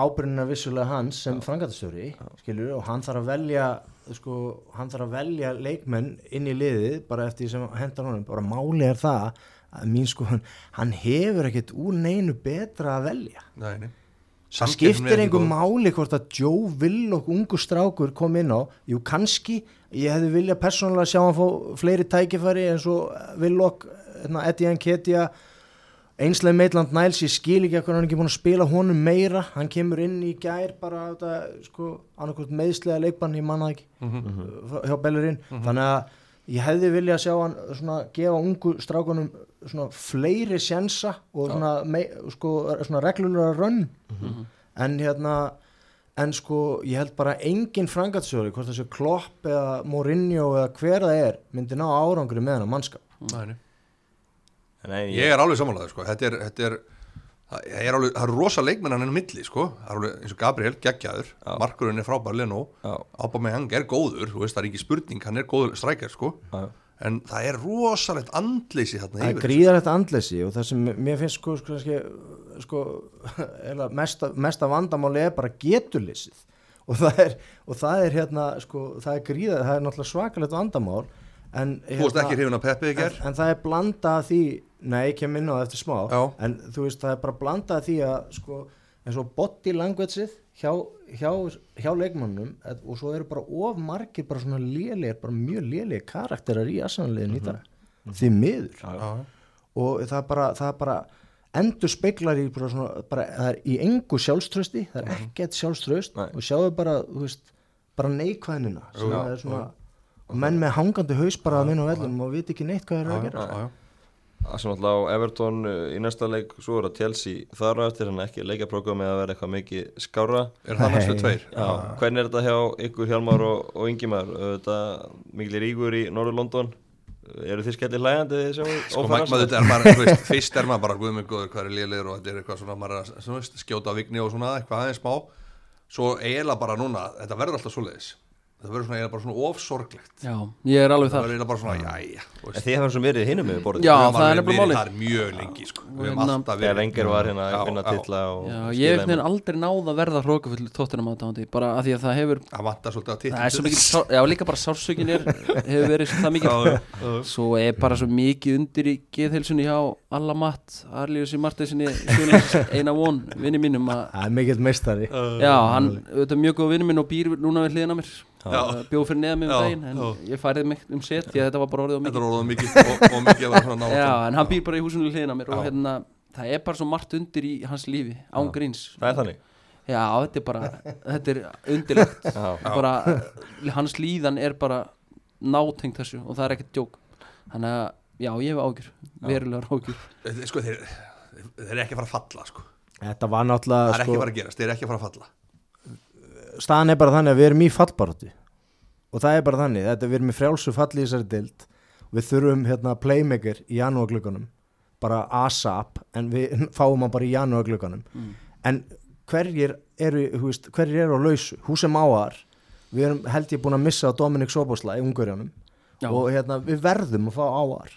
ábyrðin er vissulega hans sem frangatastjóri skilur, og hann þarf að velja sko, hann þarf að velja leikmenn inn í liðið bara eftir því sem hendar honum bara máli er það að mín sko hann hefur ekkert úr neinu betra að velja Nei, nei. það Samkeppnin er skiptir ekki góð. einhver máli hvort að Joe Willock ungu strákur kom inn á jú kannski, ég hefði viljað persónulega sjá hann fá fleiri tækifæri eins og Willock, hérna, Eddie Nketia einslega meitland Niles ég skil ekki að hann er ekki búin að spila honum meira hann kemur inn í gær bara þetta, sko, annarkvort meðslega leikbann ég manna ekki frá- Mhm. hjá Bellerín þannig að ég hefði viljað sjá hann svona gefa ungu strákunum svona fleiri sjensa og svona, mei, sko, svona reglulega rönn en hérna en sko ég held bara engin frangatsjóri hvort þessi Klopp eða Mourinho eða hver það er myndi ná árangri með hennar mannskap Næni. Nei, Ég er alveg samanlega sko. þetta, er, þetta er það það er alveg, það er rosa leikmennan enn milli sko. Það er alveg, eins og Gabriel, geggjaður markurinn er frábær Leno Já. ábæð með hann er góður, þú veist það er ekki spurning hann er góður strækjar sko. Já. en það er rosalegt andleysi þarna það er yfir sko. gríðarlegt andleysi og það sem mér finnst sko, sko, sko, sko eiginlega mesta, mesta vandamáli er bara geturleysið og það er, og það er hérna sko, það er gríða, það er náttúrulega svakalegt vandamál en, Þú varst hérna- ekki hrifin að Peppi í en, ger en það er blanda af því nei, ég kem inn á það eftir smá Já. en þú veist, það er bara blanda af því að sko, eins og body languageið hjá, hjá, hjá leikmannum et- og svo eru bara of margir bara svona lélegir, bara mjög lélegir karakterar í aðsanlegin í Mhm. dag því miður og það bara, það bara endur speiklar í bara svona, bara, það er í engu sjálfströsti það er Mhm. ekkert sjálfströst Nei. og sjáðu bara, þú veist, bara neikvæðnina sem Já, það er svona og menn með hangandi haus bara að vinna á vellum og viti ekki neitt hvað þeir eru að gera Það sem alltaf á Everton uh, í næsta leik svo er að Chelsea þar á eftir en ekki leikjaprógram með að vera eitthvað mikið skára er það næstu Nei. tveir Já, hvernig er þetta hjá ykkur Hjalmar og, og Ingimar þetta miklir ígur í Norður-London eru þið skellir hlægandi þið sem Sko, ófærast? maður, þetta er bara, þú veist, fyrst er maður bara guð með góður hvað er lélir og þetta er eitthvað svona maður er að þú veist, skjóta á vigni og svona eitthvað aðeins má svo eiginlega bara núna, þetta verður alltaf svoleiðis þetta verður svona eiginlega bara svona ofsorglegt Já, ég er alveg það verður þar eiginlega bara svona, jæja þú En veist, þið hefum sem verið hinum með borðið Já, við höfum það er alveg nefnilega verið málið. þar mjög lengi sko. Og við höfum hérna- alltaf þegar Enger var hérna Já, að vinna já. tilla og Já, skilaði ég hef mér. nefnir aldrei náð að verða hrókafullu tóttunum aðdáðandi bara af því að það hefur það vantar svolítið að Það er svo titla mikið, sár, já líka bara sársökin er hefur verið það mikið svo er bara svo mikið undir í geðhelsunni hjá alla matt Arliusi Martinsinni, eina von vinni mínum að, það er mikill meistari já hann auðvitað er mjög góð vinni minn og býr núna við hliðina á mér Já. bjóð fyrir neða mér Já, um daginn en já. ég færið mig um set því að þetta var bara orðið á þetta mikið er orðað mikið og, og mikið að vera svona nátt já en hann býr bara í húsinu við hliðina á mér og Já. hérna það er bara svo margt undir í hans lífi án gríns það er þannig já þetta er bara þetta er undirlegt já. bara, hans líðan er bara nátengt þessu og það er ekkert djók þannig að já, ég hef ágjur verulegar ágjur sko, þeir, þeir eru ekki að fara að falla sko. þetta var það náttúrulega er ekki að fara sko, að gerast, þeir eru ekki að fara að falla staðan er bara þannig að við erum í fallbaróttu og það er bara þannig þetta við erum í frjálsu falli í þessari deild við þurfum hérna playmaker í janúarglökunum bara ASAP en við fáum hann bara í janúarglökunum en hverjir eru, þú veist, hverjir eru á lausu húsum áar við erum held ég búin að missa á Dominik Sobosla í Ungurjónum Já. og hérna, við verðum að fá áar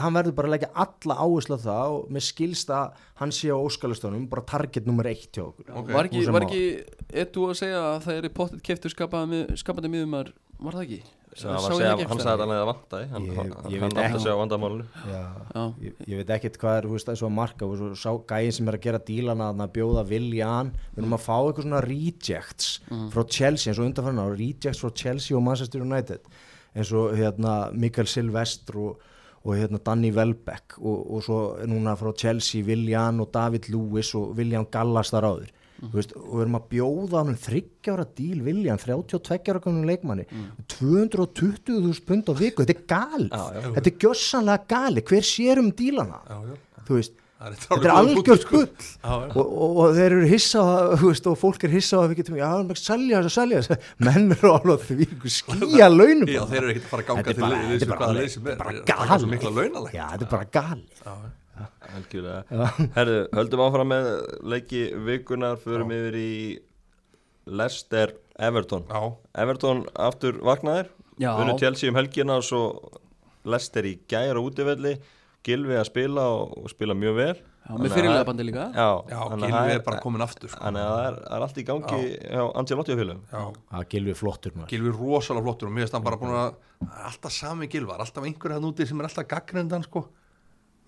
hann verður bara að leggja alla áherslu á það og með skilsta hann sé á óskalistunum bara target nummer eitt hjá okkur var ekki, Húsum var á. ekki etu að segja að það er í pottet keftur skapandi, skapandi miðumar var það ekki? Sem hann var að segja- hann sagði að hann hefði vantaði hann, Ég- hann, ég hann átti veit ekki. sig á vandamálinu Já. Já. Ég, ég veit ekkert hvað er, þú veist, það er svo að marka og svo sá gæin sem er að gera dílana að bjóða viljan, við erum að fá eitthvað svona rejects frá Chelsea eins og undanfærin á, rejects frá Chelsea og Manchester United eins og hérna Mikael Silvestr og, og hérna Danny Welbeck og, og svo núna frá Chelsea Viljan og David Lewis og Viljan Gallas þar áður mm. veist, og við erum að bjóða hann um 30 ára díl Viljan, 32 ára konum leikmanni 220.000 pund á viku þetta er galið, þetta er gjössanlega galið hver sér um dílana já, já. þú veist Það er Þetta er alveg góður algjört punktur, sko. gull og, og, og þeir eru hissa á það, þú veist, og fólk er hissa á að við getum já, það er bara að selja þess að selja þess menn eru alveg því ykkur skýja launum Já, þeir eru ekkert að fara að ganga Þetta er til bara- liðs þetta er bara- hvaða liðs sem er. þetta er bara Þeir taka svo galið. mikla launalæk Já, þetta er bara gali Algjörlega. Herðu, höldum áfram með leiki vikunar, förum yfir í Leicester Everton Já, Everton aftur vaknaðir Já. unnu Chelsea um helgina og svo Leicester í gæra útivelli Gilvi að spila og, og spila mjög vel Já, með fyrirlega bandi líka Já, þannig já að það Gilvi er bara komin aftur sko. Þannig að það er, það er allt í gangi hjá Ancelotti og félagum Já, Það gilvi flottur maður Gilvi er rosalega flottur og mér finnst hann bara búin að það er alltaf sami Gilvar, alltaf einhverja hann úti sem er alltaf gaggrindan sko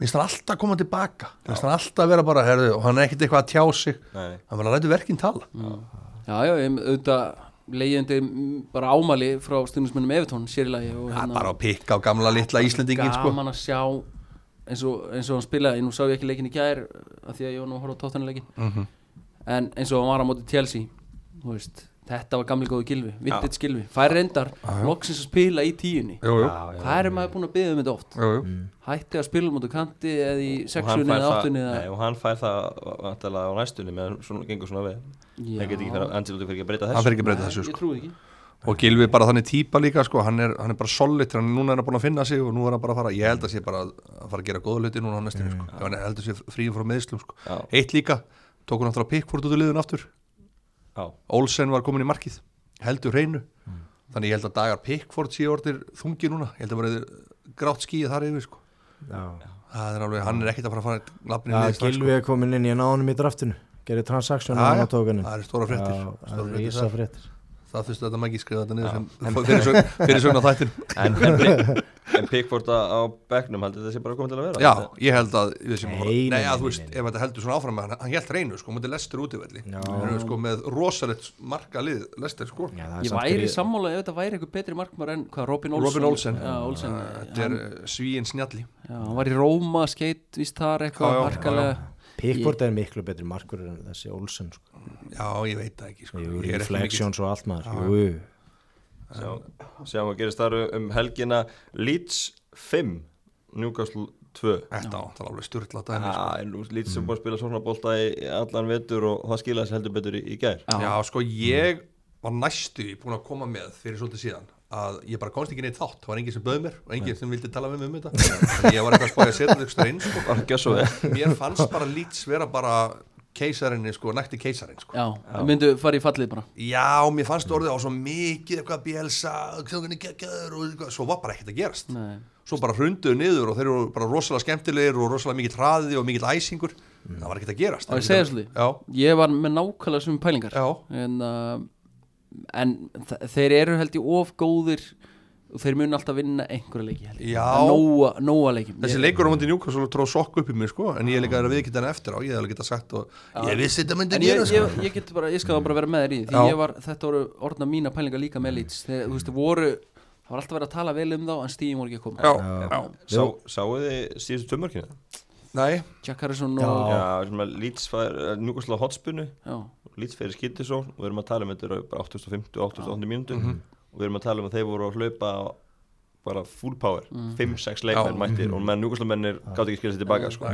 minnst hann alltaf koma tilbaka minnst hann alltaf vera bara, herðu, og hann er ekkert eitthvað að tjá sig Nei. hann var að læta verkinn tala Já, já, ég auðvitað leigjandi mm, bara ámali frá stundismennum Evertón sérilagi og hérna- hann bara að pikka á gamla litla Íslendingin sko. gaman að sjá eins og, eins og hann spilaði, nú sá ég ekki leikin í gær af því að ég var nú að horfa á tóttanleikin mm -hmm. en eins og hann var á móti Chelsea þú veist, þetta var gamli góðu gilvi vintage gilvi, fær reyndar loksins að spila í tíunni jú, jú, það er maður búin að byggja um þetta oft jú, jú. hætti að spila á móti kanti eða í og hann sexunni fær eða það, áttunni nei, eða... og hann fær það vantilega á næstunni meðan svona gengur svona vel Já. það getur ekki fyrir Angelotti fyrir ekki að breyta hann þessu fer ekki að breyta þessu ég sko. trúi ekki og Gilvi er bara þannig típa líka sko. hann, er, hann er bara solid, hann núna er hann búin að finna sig og nú er hann bara að fara, ég held að sé bara að að fara að gera góða hluti núna á næstinni sko. ef hann heldur sér fríum frá meðslum sko. Já. eitt líka, tók hann aftur að Pickford út úr liðun aftur Já, Olsen var komin í markið, heldur hreinu þannig ég held að dagar Pickford sé orðir þungi núna, ég held að verið grátt skíið þar yfir sko. já, það er alveg, hann er ekkert að fara að fara lafnir já sko. Gilvi er komin inn í náðunum í draftinu gerir transaksjónu á nátókanu það er stóra fréttir það Stórar er fréttir ísa þar. fréttir það þurftu þetta maður ekki skrifa þetta niður sem fyrirsögn á þættin en, en, Pick- en Pickford á á bekknum heldur þetta sé bara komið til að vera já, ég held að við sem Nei, að fara- nei, nei, að nei, þú nei, veist, nei. ef þetta heldur svona áfram hann, hann held reynu, sko, mútið lestur út í velli Já. Þeir eru, sko, með rosalegt marga lið lestur, sko Já, já, Ég það er samt væri gríð- sammála ef þetta væri eitthvað betri markmar en hvað Robin Olsen Robin Olsen. Já, Olsen þetta er uh, svíin snjalli Já, hann var í Róma, skeitt, víst þar eitthvað Já, já, harkalega Pickford er miklu betri markur en þessi Olsen sko. já, ég veit það ekki, sko Jú, Ég er ekki mikill- Reflections og allt maður Jú, Sjá- Sjáum að gerist þar um helgina Leeds 5 Newcastle 2 þetta á, það er alveg styrla dæmi sko. Já, en nú Leeds er búin að spila svona bólta í í allan vetur og það skilaði sér heldur betur í, í gær já, sko, ég var næstu í búin að koma með fyrir svolítið síðan að ég bara komst ekki neitt þátt, það var enginn sem bauð mér og enginn sem vildi tala með mig um þetta Þannig ég var eitthvað að spája að setja þetta eitthvað inn sko. Bara gjör svo vel mér fannst bara Leeds vera bara keisarinni sko, nætti keisarin sko. Já, já. myndu fara í fallið bara já, mér fannst orðið á svo mikið eitthvað bjelsa, hvernig geggjör og eitthvað, svo var bara ekkert að gerast Nei. svo bara hrunduðu niður og þeir eru bara rosalega skemmtilegir og rosalega mikið hraði og mikið æsingur það var ekkert að gerast Á ég segja svolítið? já, Ég var með nákvæmlega sem pælingar já, En, uh, en þe- þeir eru held ég of góðir og þeir munu alltaf vinna einhverja leiki held ég. Já. Það er nóga, nóga leikim þessi leikur á myndi njúkast og tróð sokk upp í mig sko en ég er líka að viðkita hann eftir á, ég hef alveg geta sagt og ég vissi þetta myndi En ég, gera sko ég, ég get bara, ég skal bara vera með þér í því, því Já. ég var, þetta voru orðna mína pælingar líka með Leeds þegar, þú veist, voru, það var alltaf verið að tala vel um þá en stíðin voru ekki að koma já, já, Sá, Sáu þið síðustu tömörkina? nei, Jack Harrison og Já. Já, sem að Leeds fær Newcastle á hotspunnu já. Leeds fyrir Skittisón og við erum að tala um þetta eru bara 850 og 880 mínútur og við erum að tala um að þeir voru að hlaupa á bara full power, 5-6 leikmenn mættir og menn núkvæmslamennir gátt ekki að skilja sér tilbaka sko.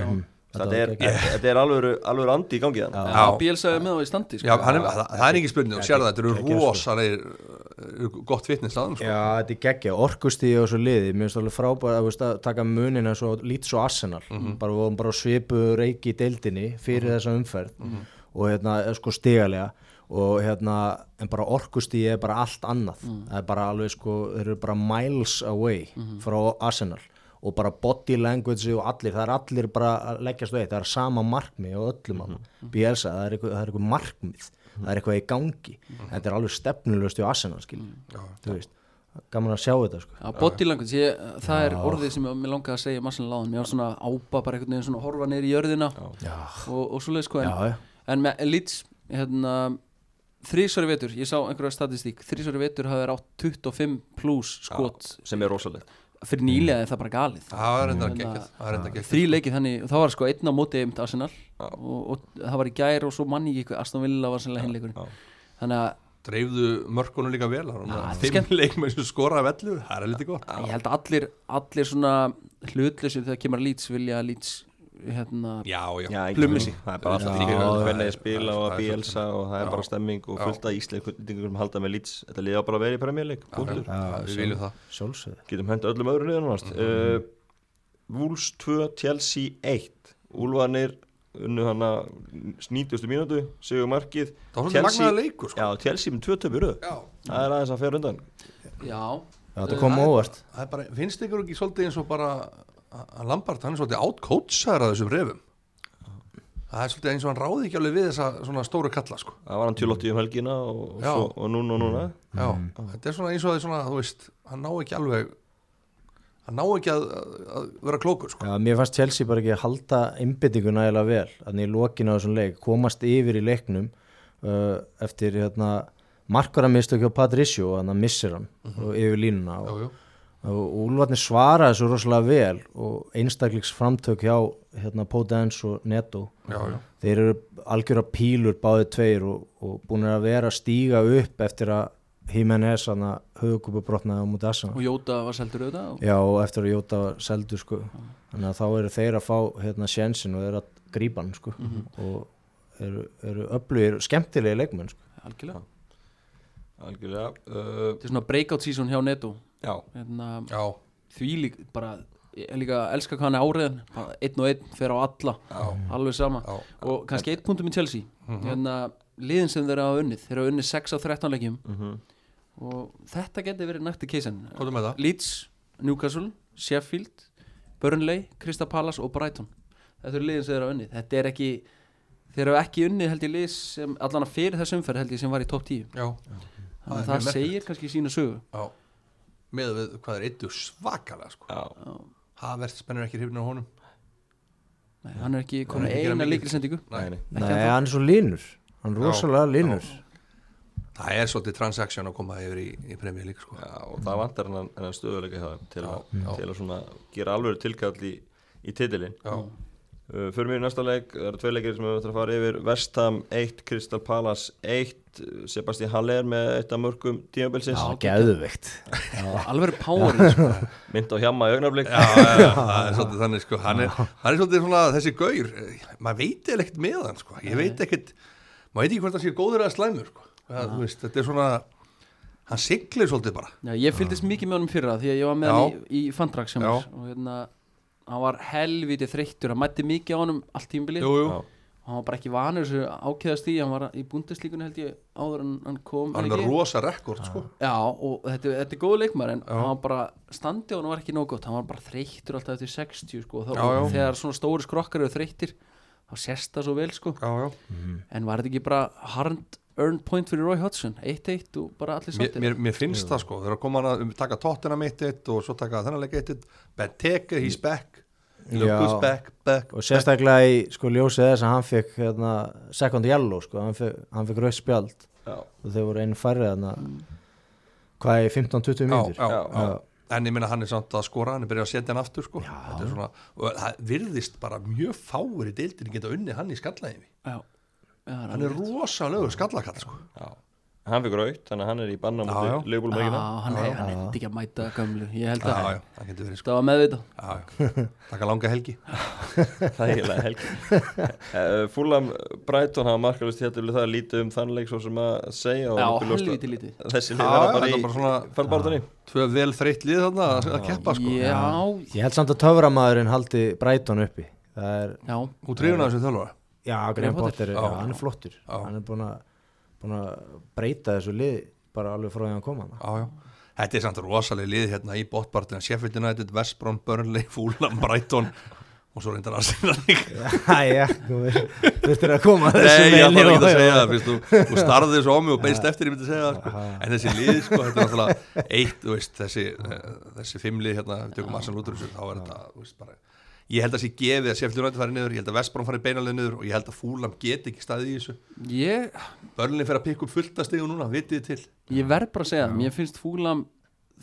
þetta er, þetta er alveg, alveg andi í gangi þannig Já, Bíl sagði með þá í standi sko. já, hann, er- það, það er engin spurning og sér það, þetta eru rosalegir uh, gott vitnis aðum sko Já, þetta er geggja, orkustíði og svo liði mér finnst alveg frábært að, veist, að taka munina svo lít svo Arsenal bara við vorum bara svipu reiki í deildinni fyrir þessa umferð og hérna eh, sko stigalega og hérna en bara orkustíði er bara allt annað það er bara alveg sko, þeir eru bara miles away frá Arsenal og bara body language og allir það er allir bara að leggjast veit það er sama markmið og öllum mm -hmm. Bielsa, það er eitthvað, það er eitthvað markmið það er eitthvað í gangi, þetta er alveg stefnulegust í Arsenal skil, þú veist gaman að sjá þetta sko Já, body language, ég, það er orðið sem ég- mér langaði að segja massan láðan, mér var svona ápa bara einhvern veginn svona horfa neyri í jörðina Já. og, og svoleið sko en, Já, já. en með Leeds hérna, þrísveri vetur, ég sá einhverja statistík þrísveri vetur hafði rátt 25 plus skot sem er rosalegt fyrir Mm. nýlega er það bara galið það er enda geggjað, það er enda geggjað þrý leikið þannig, og það var sko einn á móti eimt Arsenal og, og það var í gær og svo manni ekki eitthvað, Aston Villa var sannlega hinleikurinn þannig að dreifðu mörkunum líka vel það Já, var þetta er fimm leikmenn sem skoraði vellu það er lítið gott ég held að allir, allir svona hlutlusir þegar kemur að Leeds vilja að Leeds hérna, já, já, Já, ekki Plummi sig. spurning. það er bara alltaf líka hvernig þeir spila og að Bielsa og það er bara stemming og fullt af íslendingum sem halda með Leeds þetta liða bara að vera í premjarleik punktur. við viljum það sjálfsögðu getum henda öllum öðru niður nánast Mhm. uh, Wolves 2, Chelsea 1 Úlfarnir unnu hana 90. mínútu sigur markið Það var svolítið magnaður leikur, sko. já, Chelsea með 2 töp í röð já, það er aðeins að fer undan já, Já, þetta kom óvart það er bara, finnst ykkur ekki svolítið eins og bara að Lampard, hann er svolítið átkótsaður að þessum refum það er svolítið eins og hann ráði ekki alveg við þessa svona stóru kalla sko það var hann 28 um helgina og, og, Já. svo, og núna og núna já, þetta er svona eins og það er svona, þú veist hann ná ekki alveg hann ná ekki að, að- að vera klókur sko. Já, mér fannst Chelsea bara ekki að halda einbyttingu nægilega vel þannig í lokin á þessum leik, komast yfir í leiknum uh, eftir hérna, markvara mistök hjá Patricio og hann missir hann og yfir línuna og, jú, jú. og Úlfarnir svara þessu rosalega vel og einstakleiks framtök hjá hérna, Podence og Neto Já, já. þeir eru algjöra pílur báði tveir og, og búin að vera að stíga upp eftir að Jimenez hann að höfukupu brotnaði á múti Assan og Jóta var seldur auðvitað og... Já, og eftir að Jóta var seldur sko. þannig að þá eru þeir að fá hérna sjensin og eru að grípa hann sko. Mhm. og eru, eru öflugir skemmtilegi leikmenn sko. algjörlega, Algjörlega uh, þetta er svona breakout season hjá Neto Já, hérna, já, því lík bara, ég líka elska hvað hann er áriðan bara einn og einn fer á alla já, alveg sama já. Mhm. og kannski eitt punktum í Chelsea hérna, liðin sem þeir hafa unnið þeir hafa unnið 6 á 13 leikjum Mhm. og þetta geti verið nætti keisan Hvað er með það? Leeds, Newcastle, Sheffield Burnley, Crystal Palace og Brighton þetta eru liðin sem þeir hafa unnið þetta er ekki, þeir hafa ekki unnið held ég lið sem, allan að fyrir þessum umferð held ég sem var í topp 10 Já, þannig að Það er það mjög merkilegt. segir kannski sína sögu já. Með við hvað er eittu svakalega sko. já, Havert spennur ekki hrifnir á honum. Nei, hann er ekki komin Nei, ekki gera eina mikið. líkilsendingu nei, nei Ekki Nei, ennþá. hann er svo linur hann er Já, rosalega linur Það er svolítið transaction að koma yfir í, í premjör líka sko. Já, og það vantar hennan, hennan stöðuleika hjá þeim til, Já, að, já. til að svona gera alveg tilkall í, í titilin Já, uh, Fyrir mér í næsta leik, það eru tvei leikir sem við ætlum að fara yfir Vestham 1, Crystal Palace 1 uh, Sebastian Haller með eitt af mörgum tímabilsins Já, geðveikt alveg power sko. mynd á hjama í augnarblik já, já, já, það er svolítið þannig sko. Hann er, hann er svolítið svona þessi gaur. eh, Maður veit eða ekkert með hann sko. Ég veit ekkert, maður veit ekki hvort það sé góður eða slæmur sko. Það, þú veist, þetta er svona, hann siglir svolítið bara. Já, ég fylgdist mikið með honum fyrra því að ég var með Já. hann í, í fandrak sem Já. er og hérna, hann var helviti þreyttur, hann mætti mikið á honum allt tímbilið Jú, og jú. Já. hann var bara ekki vanur þessu ákjæðast í, hann var í bundeslíkunni held ég áður en hann kom Hann er er með ekki? rosa rekord sko. Já, og þetta, þetta er góð leikmar en Já. hann var bara, standi á hann var ekki nóg gott hann var bara þreyttur alltaf eftir 60 sko, og þá, Já, já. og þegar svona stóri skrokkar eru þreyttir þá sést það svo vel sko Já, já. en var þetta ekki bara hard earned point fyrir Roy Hodgson 1-1 og bara allir mér, sáttir mér, mér finnst það sko þegar koma hann að taka tóttina mitt eitt og svo taka þennan leik eitt eitt Ben Teker, he's back Lucas Já. back, back og sérstaklega í sko, ljósið þess að hann fekk hérna, second yellow sko. hann fekk, hann fekk rauð spjald Já. og þeir voru einu færri þarna hvað er 15-20 já, mínútur já, já. Já. en ég minna hann er samt að skora hann er byrjað að setja hann aftur sko Þetta er svona, og það virðist bara mjög fáir í deildinu geta unnið hann í skallaðinni Já. Já, það hann er rosalegu skallakall sko Já. Hann fyrir gröitt, þannig að hann er í banna Já, já. mútið leifbólum Já, ekki hann er hann er ekki að mæta gömlu Ég held já, að já, það getur verið sko það var meðvita já, já. taka langa helgi Það er eiginlega helgi uh, Fúlam Brighton hafa markalist hér til það er lítið um þann leik svo sem að segja og Já, nokkuð ljóst að- helviti lítið. Þessi Já, lið verða bara þetta í er bara svona- fallbártunni tvö vel þreytt lið þarna að- að keppa sko Já, ég held samt að töframæðurinn haldi Brighton uppi það er já, hún trefna þessu þjálfara Já, Graham Potter, Já. já, hann er flottur hann er búin að, búin að breyta þessu lið bara alveg frá því að hann kom hann Já, já. Þetta er samt rosalega lið hérna í bóttpartina Sheffield United, West Brom, Burnley, Fulham, Brighton og svo reyndar Arsenal líka Jæja, þú þurftir að koma að þessu Nei, ég meini ætla ekki og- að segja það fyrst, þú, þú starðið svo á mig og beist eftir ég myndi að segja það sko. en þessi lið, sko, þetta er náttúrulega eitt, þú veist, þessi, eh, þessi fimmlið hérna, við tökum Arsenal út úr þessu, þá er þetta þú veist, bara, ég held að sé gefið að Sheffield United farið niður, ég held að West Brom farið beinalega niður og ég held að Fulham get ekki staðið í þessu ég, Burnley fer að pikka upp fullt að stigu núna, vitið þið til ég verð bara að segja það Mér finnst fúlam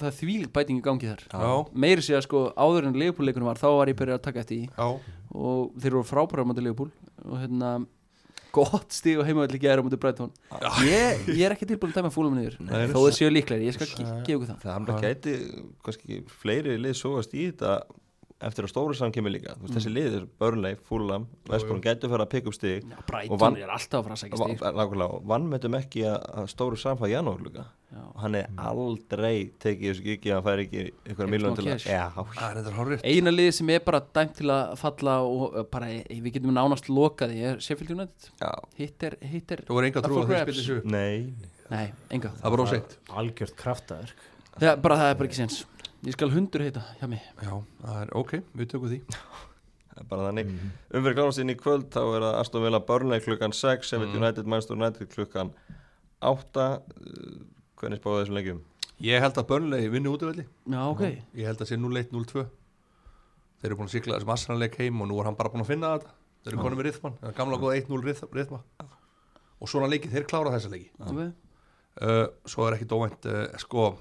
það þvílík bæting í gangi þar Já. Meiri segja sko, áður en leifbúleikunum var þá var ég byrjað að taka eftir í Já, og þeir eru frábæra á móti leifbúl og hérna gott stíg og heimavæll ekki er á móti Breitón ég, ég er ekki tilbúin að dæma fúlam niður þó þeir séu líklegri, ég skal ge- gefa ykkur það Það hann gæti kannski fleiri lið sóast í þetta eftir að stóra saman kemur líka Þú veist, Mm. Þessi lið er Burnley, Fulham, Vestbjörn gæti að fara að pikka upp stig Já, Og Breitón vann- er alltaf að fara að sækja sko. stíg Nákvæmlega, og vannmetum ekki að, að stóru samfæð janúar líka og hann er aldrei tekið þessu gigi að hann fær ekki einhverja miljón Mm. smá til að cash. Já, það er Ah, þetta hárrið eina liði sem er bara dæmt til að falla og eh, bara, eh, við getum nánast lokað ég er Sheffield United já, hitt er, hitt er Þú voru enga up trú for að þau grabs. spilir þessu nei nei, enga Það var óseint Algjört kraftaverk það, bara það er bara ekki sens ég skal hundur heita hjá mig Já, það er ok, við tökum því Það er bara þannig Mhm. mm -hmm. umfyrir kláðastinn í kvöld þá er það Aston Villa Burnley klukkan 6 Mhm. Sheffield United Manchester United klukkan 8 Uh, hvernig spáðu þessum lengjum? Ég held að Burnley vinni útivelli Já, ok Ég held að sé 0-1, 0-2 Þeir eru búin að sigla þessum assanleik heim og nú er hann bara búin að finna þetta Þeir eru konum með rithman, gamla góða 1-0 ryth- rythma Og svona leiki, þeir klára þessa leiki Ok, uh, Svo er ekkit óvænt uh, Sko,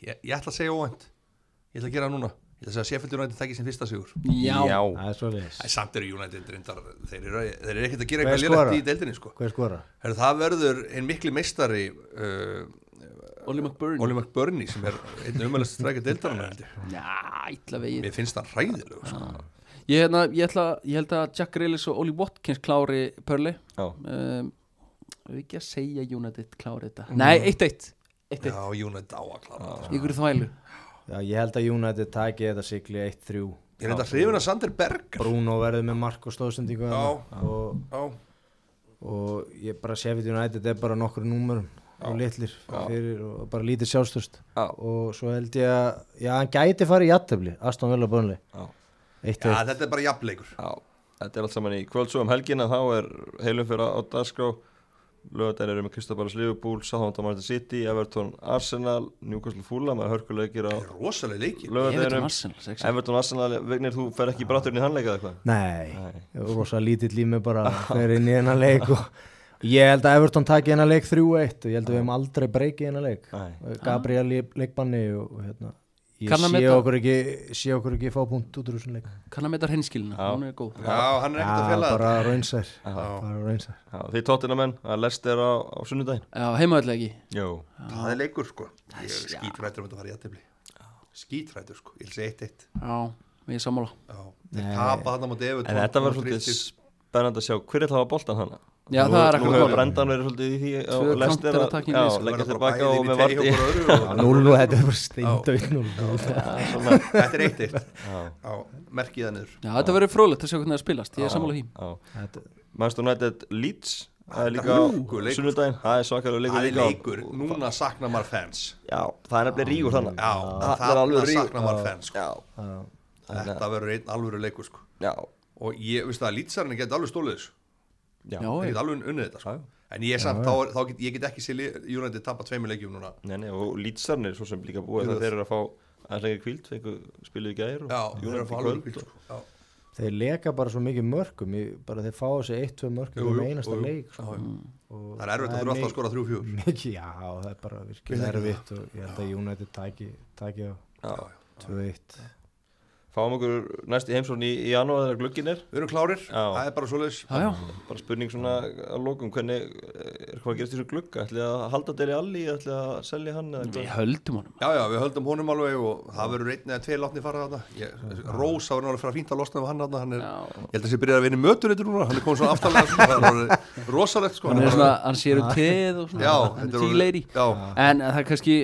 ég, ég ætla að segja óvænt Ég ætla að gera það núna Ég ætla að segja að Sheffield United takki sem fyrsta sigur Já, Það er svo leiðis Æ, Samt eru United reyndar Þeir eru, þeir eru ekkit að gera Hver eitthvað lérætt í skorar? deildinni sko. Hver skora? Heru, Það verður einn mikli meistari uh, Ollie McBurn Oli McBurney sem er einn umhverfast strækja deildarana held ég. Já, illa vegið Mér finnst hann hræðilegu sko. ég, hérna, ég, ætla, ég held að Jack Grealish og Ollie Watkins klári Pörli Já. um, Við ekki að segja United klári þetta Nei, 1-1 1-1, Já, United á að klára þetta, sko. ykkur er þvælu Já, ég held að United taki þetta sigli 1-3 Ég er þetta hrifin að Sander Berg Bruno verður með mark og stóðsendingu Já. þarna og, Já, og ég bara sé við United er bara nokkur númurum og litlir fyrir og bara lítið sjálfstöðst Já. og svo held ég að já, hann gæti farið í aðtöfli, Aston Villa Burnley Já. eitt Já eitt, þetta er bara jafnleikur Já, þetta er allt saman í kvöld svo um helgina þá er heilum fyrir á dagskrá lögadæn eru með Kristabalas Liverpool Southampton Manchester City, Everton Arsenal Newcastle Fulham, það er hörkuleikir á Þetta er rosalega leiki Everton lögadænum Arsenal, 6 Everton Arsenal, Vignir, þú fer ekki brátturinn í þannleika eða hvað? nei, rosa lítill í mig bara fyrir inn í hennar leik og ég held að Everton taki hennar leik 3-1 og ég held að við hefum aldrei breykið hennar leik Nei. Gabriel í leikbanni og, og hérna ég Kann að sé meta. okkur, ekki, sé okkur ekki fá punkt út úr þessum leik Kann að meta hreinskilina, hún er góð Já, hann er ekkert að Já, fjalla bara þetta raunsær Já. bara raunsær Já, þið tóttina menn, að lest er á, á sunnudaginn Já, heimaðallega ekki Jó, Það er leikur sko Ég er skítrættur um þetta að fara í jafnleikur Skítrættur sko, ég vil segja eitt eitt Já, við erum sammála Þeir tapa þarna mútið Evertón en þetta verður svolítið spennand að sjá hver er það að boltan hana Já, Nú- það er Nú akkurat hefur málið. brendan verið svolítið í því og Tvö Leicester að- counterattacking Já, lið, sko. leggja tilbaka og með varti Já, 0 og þetta er bara steindauð 0 Þetta er eitt eitt Já, merkið það niður Já, þetta verður frólægt að sjá hvernig það spilast Ég er sammála því Já, Manchester United Leeds það er líka á leikur. sunnudaginn það er svakalega leikur Það er líka leikur, núna saknar maður fans já, það er nefnilega rígur þannig Já, það er þarna alveg rígur saknar maður fans sko. já, Þetta verður einn alvöru leikur sko. já, Og ég, veist það, lýtsarinn geti alveg stólið þessu já, Já, Þeir ég- geti alveg unnið þetta sko. En ég er samt, þá, er- þá get, ég get ekki séð lið- United tapa tveimur leikjum núna Nei, nei, og Leedsarnir svo sem líka búið Jú, það það- þeir eru að fá aðeins lengri kvíld fengu spiluð í gæðir Já, þeir eru að fá alveg bíl sko. Já. Þeir leka bara svo mikið mörgum ég, bara þeir fá þessi 1-2 mörgum Jú, um jú, einasta jú, jú. leik sko. Já, Mm. já. Og Það er erfitt að þurfa alltaf að skora 3-4 mikið, já, það er bara virkilega erfitt og ég held að United taki, taki á Já. 2-1 fáum okkur næst í heimsókn í, í janúar þegar glöggin er Við erum klárir, Já. það er bara svoleiðis Já, já, bara spurning svona að lokum hvernig eh, er hvað gerist í þessu glugga ætli að halda þeir í alli, ætli að selja hann eða við hvað höldum honum Já, já, við höldum honum alveg og það verður einn eða tveir látni fara þarna Ég- Rós, það verður alveg fyrir að fínt að losna við hann þarna Hann er, Já. ég held að sé byrjar að vinna mötur þetta núna Hann er komið svona aftalega sko. Það er orðið rosalegt sko Hann er svona, hann sér um teð og svona Já, hann þetta er er tea orðið- lady Já, En það er kannski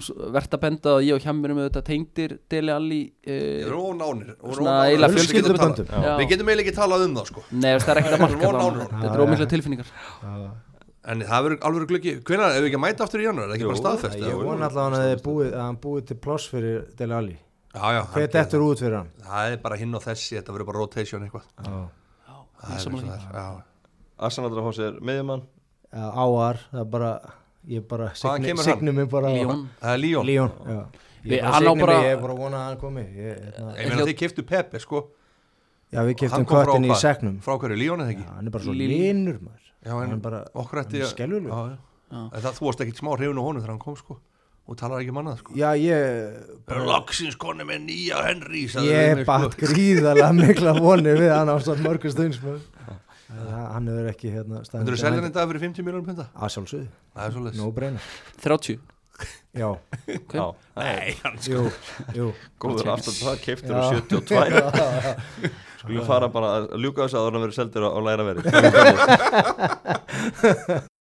s- vert að benda að ég og Hjammir erum auðvitað tengdir Deli Alli þeir uh, eru ónánir og Svona ónánir. eiginlega Við getum talað- fjölskylduböndum. Já. Við getum eiginlega ekki talað um það sko Nei, veist, það er ekkert að marka Von það ánægður. Þetta er ómikla tilfinningar En það verður alveg glöggi Hvenær, ef við ekki að mæta aftur í janúar, er það ekki Jú, bara Æ, staðfest? Ég eða? vona allavega að, þeir búið, að hann búið til pláss fyrir Dele Alli Já, já, hann Hver gerir dettur út fyrir hann? það. það er bara hinn og þessi, þetta verður bara rotation eitthvað Það er sammála eins og það er, já. Arsenaldur að fá sér miðjumann Já, Áar, það er bara ég bara Hvaðan signi, kemur hann? signi mig bara á- Leon. Það er Líón Leon, já Við- Ég bara hann á signi bara- mig, ég er bara að vona að hann komi ég, hérna, Ég meina þeir keftu Pepe sko Já, Hann við keftum kom frá köttin í hvað? segnum Frá hverju, Líón eða ekki? Já, hann er bara svo Lil- linur maður Já, en hann er bara okkur ætti hann er að- skelfilegur. Já, já. En Það þú varst ekkit smá hrifun á honum þegar hann kom sko Og talar ekki um annað sko já ég Loksins konni með nýja Henry sagði við ég mig, sko. batt gríðalega mikla voni við hann ástæðan mörgum stunds maður. Það- hann hefur ekki hérna Myndirðu selja hann í dag fyrir 50 miljónum punta? að sjálfsögðu, Það er svolítið no brainer 30 já, já, Nei, hann jú, jú góður aftur það keiftur og 72 skulum fara bara að ljúka þessu að það verður seldir og læra verið